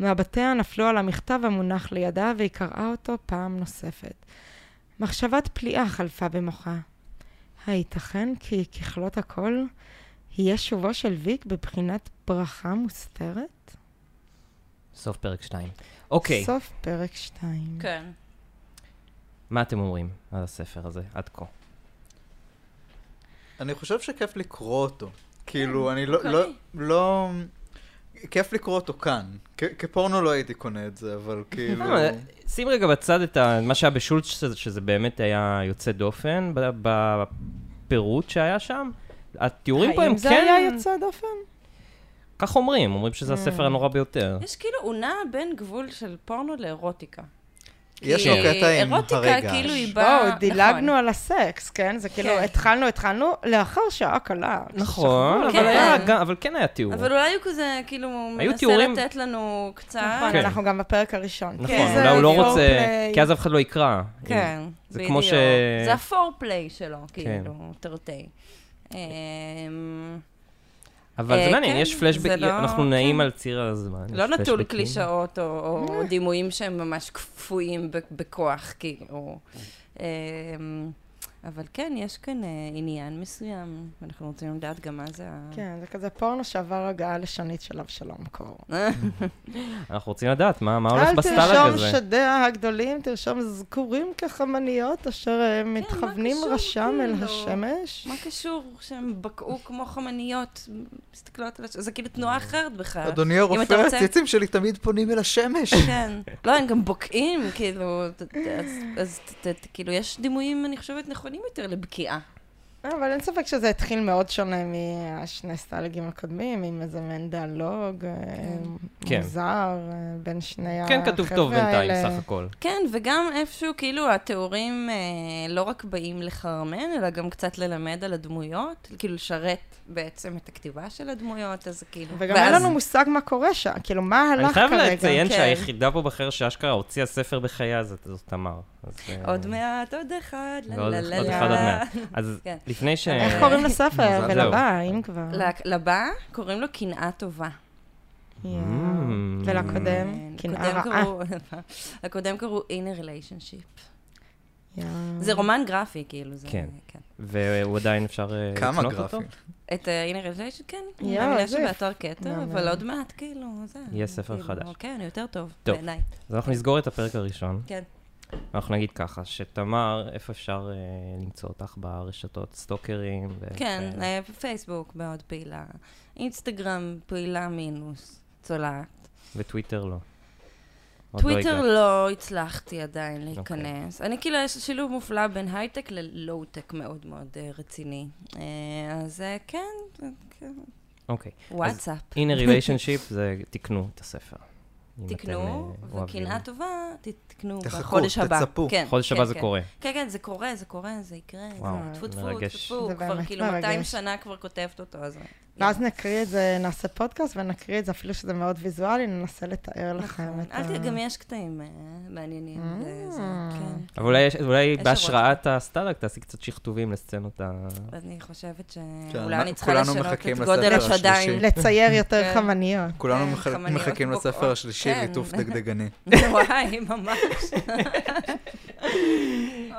S4: מבטיה נפלו על המכתב המונח לידה והיא קראה אותו פעם נוספת. מחשבת פליאה חלפה במוחה. הייתכן כי ככלות הכל יהיה שובו של ויק בבחינת ברכה מוסתרת?
S1: סוף פרק 2. אוקיי,
S4: סוף פרק 2.
S3: כן.
S1: מה אתם אומרים על הספר הזה עד כה?
S2: אני חושב שכיף לקרוא אותו. כאילו, אני לא-
S3: אוקיי.
S2: לא... לא... כיף לקרוא אותו כאן. כ- כפורנו לא הייתי קונה את זה,
S3: [laughs]
S2: אבל כאילו...
S3: אה,
S1: למה? אה, שים רגע בצד את ה- מה שהיה בשולץ, שזה- שזה באמת היה יוצא דופן, ב- בפירוט שהיה שם. התיאורים פה הם
S4: האם זה היה
S1: כן,
S4: יוצא דופן?
S1: כך
S3: אה.
S1: אומרים, אומרים שזה הספר הנורא ביותר.
S3: יש כאילו, הוא נע בין גבול של פורנו לאירוטיקה.
S2: יש לו
S3: כי
S2: קטע עם
S3: אירוטיקה,
S2: הרגע.
S3: כאילו היא באה...
S4: בואו,
S3: נכון.
S4: דילגנו על הסקס, כן? זה כאילו,
S3: כן.
S4: התחלנו, התחלנו, לאחר שעה קלה.
S1: נכון,
S4: כששכבו,
S1: אבל
S3: כן.
S4: אבל-
S1: היה גם- אבל כן היה תיאור.
S3: אבל אולי הוא כזה, כאילו, הוא
S1: היו
S3: מנסה
S1: תיאורים-
S3: לתת לנו קצת.
S4: נכון,
S1: כן.
S4: אנחנו גם בפרק הראשון.
S1: נכון,
S3: כן,
S1: אולי הוא לא
S4: זה
S1: רוצה,
S4: foreplay.
S1: כי אז אף אחד לא יקרא.
S3: כן,
S1: זה
S3: בדיוק.
S1: כמו ש-
S3: זה הפורפליי שלו,
S1: כן.
S3: כאילו, תרתי. אמ,
S1: אבל
S3: אה,
S1: זה מעניין,
S3: כן,
S1: יש
S3: זה
S1: פלשבקים,
S3: לא-
S1: אנחנו
S3: כן.
S1: נעים על ציר הזמן. יש
S3: לא נטול
S1: פלשבקים.
S3: קלישאות או-
S1: אה.
S3: או דימויים שהם ממש כפויים ב- בכוח, כאילו. אמ, אבל כן, יש כאן אה, עניין מסוים, ואנחנו רוצים לדעת גם מה זה ה...
S4: כן, זה כזה פורנו שעבר הגעה לשונית של אבשלום קור.
S1: כן.
S3: [laughs]
S1: אנחנו רוצים לדעת מה מה הולך
S4: אל
S1: בסטאלה
S4: תרשום
S1: כזה.
S4: שדיה הגדולים, תרשום זכורים כחמניות, אשר אה,
S3: כן, מה
S4: מתכוונים
S3: קשור,
S4: ראשם אל
S3: כאילו?
S4: השמש.
S3: מה קשור שהם בקעו כמו חמניות, מסתכלות על הש... זה כאילו
S1: אה.
S3: תנועה אחרת בכלל.
S2: אדוני
S3: אם
S2: הרופא,
S3: אתה רוצה-
S2: הציצים שלי תמיד פונים אל השמש.
S3: כן. לא, הם גם בוקעים, כאילו, ת- ת- אז- אז ת- ת- כאילו, יש דימויים, אני חושבת, נכונים יותר לבקיעה.
S4: אה, אבל אין ספק שזה התחיל מאוד שונה מהשני סטלגים הקודמים, עם איזה מעין דיאלוג אה,
S1: כן.
S4: מוזר אה, בין שני
S1: כן, כתוב
S3: אה,
S1: טוב
S4: החבר'ה
S1: בינתיים,
S4: האלה.
S1: סך הכל.
S3: כן, וגם איפשהו, כאילו, התיאורים אה, לא רק באים לחרמן, אלא גם קצת ללמד על הדמויות, כאילו, לשרת בעצם את הכתיבה של הדמויות, אז כאילו...
S4: וגם אין
S3: ואז-
S4: לנו מושג מה קורה שם, כאילו, מה הלך
S1: אני
S4: כרגע.
S1: חייב לציין
S3: כן.
S1: שהיחידה פה בחר שאשכרה הוציאה ספר בחייה, זאת זאת תמר. אז, אה,
S3: עוד מעט, עוד אחד, לה,
S1: ועוד
S3: לה, לה,
S1: עוד
S3: לה.
S1: אחד עוד מעט. אז
S3: כן.
S1: לפני ש...
S4: איך קוראים לספר?
S2: זהו.
S4: ולבא, אם כבר.
S3: ל- לבא קוראים לו קנאה טובה.
S4: יואו.
S1: Mm.
S4: ולקודם?
S3: כן,
S4: קנאה
S3: לקודם
S4: רעה.
S3: קראו- [laughs] לקודם קראו In a Relationship.
S4: יואו.
S3: זה רומן גרפי, כאילו, זה...
S1: Mm-hmm. כן. והוא עדיין אפשר אה, לקנות
S2: כמה
S1: אותו?
S2: גרפים.
S3: את אה, In a Relationship, כן. אני
S4: יואו,
S3: מאמינה
S4: איזה
S3: שבאתר
S4: מהמם.
S3: כתר, אבל עוד מעט, כאילו, זה...
S1: אה, יהיה ספר
S3: כאילו,
S1: חדש.
S3: כן, יותר טוב,
S1: טוב. כן,
S3: בעיניי.
S1: אז אנחנו נסגור את הפרק הראשון.
S3: כן.
S1: אנחנו נגיד ככה, שתמר, איפה אפשר אה, למצוא אותך ברשתות סטוקרים? ו-
S3: כן,
S1: ו-
S3: אה, פייסבוק מאוד פעילה, אינסטגרם פעילה מינוס, צולעת.
S1: וטוויטר לא. עוד לא
S3: טוויטר
S1: הגעת. אוקיי.
S3: לא הצלחתי עדיין להיכנס. אני כאילו, יש שילוב מופלא בין הייטק ללואו-טק מאוד מאוד אה, רציני. אה, אז אה, כן, אה, כן,
S1: אוקיי.
S3: וואטסאפ.
S1: In a relationship זה תקנו את הספר. אם אתם,
S3: תקנו,
S1: אה, אוהבים.
S3: וקנאה טובה, ת- תקנו
S2: תחכו,
S3: בחודש הבא.
S2: תצפו.
S3: כן,
S1: חודש
S3: כן,
S1: הבא זה
S3: כן.
S1: קורה.
S3: כן, כן, זה קורה, זה קורה, זה יקרה.
S1: וואו,
S3: זה- טפו, טפו,
S1: מרגש.
S3: טפו,
S4: זה
S3: כבר
S4: באמת
S3: כאילו
S4: מרגש.
S3: 200 שנה כבר כותבת אותו, אז...
S4: ואז נקריא את זה, נעשה פודקאסט ונקריא את זה, אפילו שזה מאוד ויזואלי, ננסה לתאר לכם
S3: נכון.
S4: את
S3: אל תראה, גם
S4: ה...
S3: יש קטעים אה, מעניינים.
S4: Mm.
S3: זה- זה- כן.
S1: אבל אולי, יש- אולי
S3: יש
S1: בהשראת הסטלק תעשי קצת שכתובים לסצנות ה...
S3: אני חושבת
S2: כן,
S3: שאולי
S2: מה-
S3: אני צריכה
S2: כולנו
S3: לשנות
S2: מחכים
S3: את
S2: לספר
S3: גודל
S2: השלישי.
S3: השדיים. [laughs]
S4: לצייר יותר
S3: כן.
S4: חמניות.
S2: כולנו
S3: כן,
S2: מח-
S3: חמניות
S2: מחכים
S3: בוקעות.
S2: לספר השלישי,
S3: כן. [laughs]
S2: ליטוף דגדגני.
S3: וואי, ממש.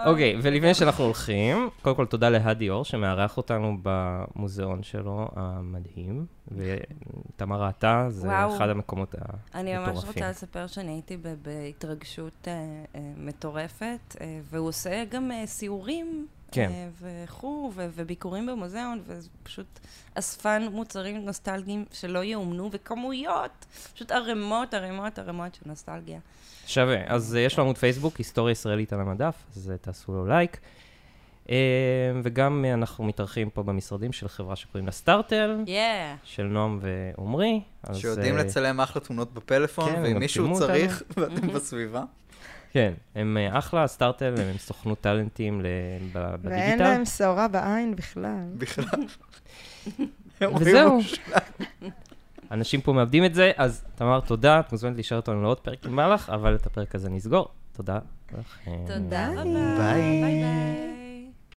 S1: אוקיי, ולפני שאנחנו הולכים, קודם כל תודה להדי אור שמארח אותנו במוזיאון שלו המדהים, ותמר ראתה, זה
S3: וואו.
S1: אחד המקומות ה...
S3: אני ממש
S1: מטורפים.
S3: רוצה לספר שאני הייתי ב- בהתרגשות אה, אה, מטורפת, אה, והוא עושה גם אה, סיורים.
S1: כן.
S3: אה, וכו', ו- וביקורים במוזיאון, ופשוט אספן מוצרים נוסטלגיים שלא יאומנו, וכמויות, פשוט ערימות, ערימות, ערימות של נוסטלגיה.
S1: שווה. אז אה, יש לו עמוד פייסבוק, היסטוריה ישראלית על המדף, אז אה, תעשו לו לייק. אה, וגם אה, אנחנו מתארחים פה במשרדים של חברה שקוראים לה סטארטל,
S3: יאה.
S1: של נועם ועומרי. אז,
S2: שיודעים
S1: אה,
S2: לצלם אחלה תמונות בפלאפון,
S1: כן, הם
S2: ואם
S1: גם צילמו
S2: מישהו
S1: אותנו.
S2: צריך [laughs] ואתם
S3: [laughs]
S2: בסביבה.
S1: כן, הם אה, אחלה, סטארטל, הם סוכנות טאלנטים ל- ב-
S4: ואין
S1: בדיגיטל.
S4: להם שעורה בעין בכלל.
S2: בכלל. הם רואים
S1: וזהו.
S2: משהו.
S1: אנשים פה מאבדים את זה, אז תמר, תודה, את מוזמנת להישאר אותנו לעוד פרק במהלך, אבל את הפרק הזה נסגור. תודה. לכם.
S3: תודה רבה.
S2: ביי.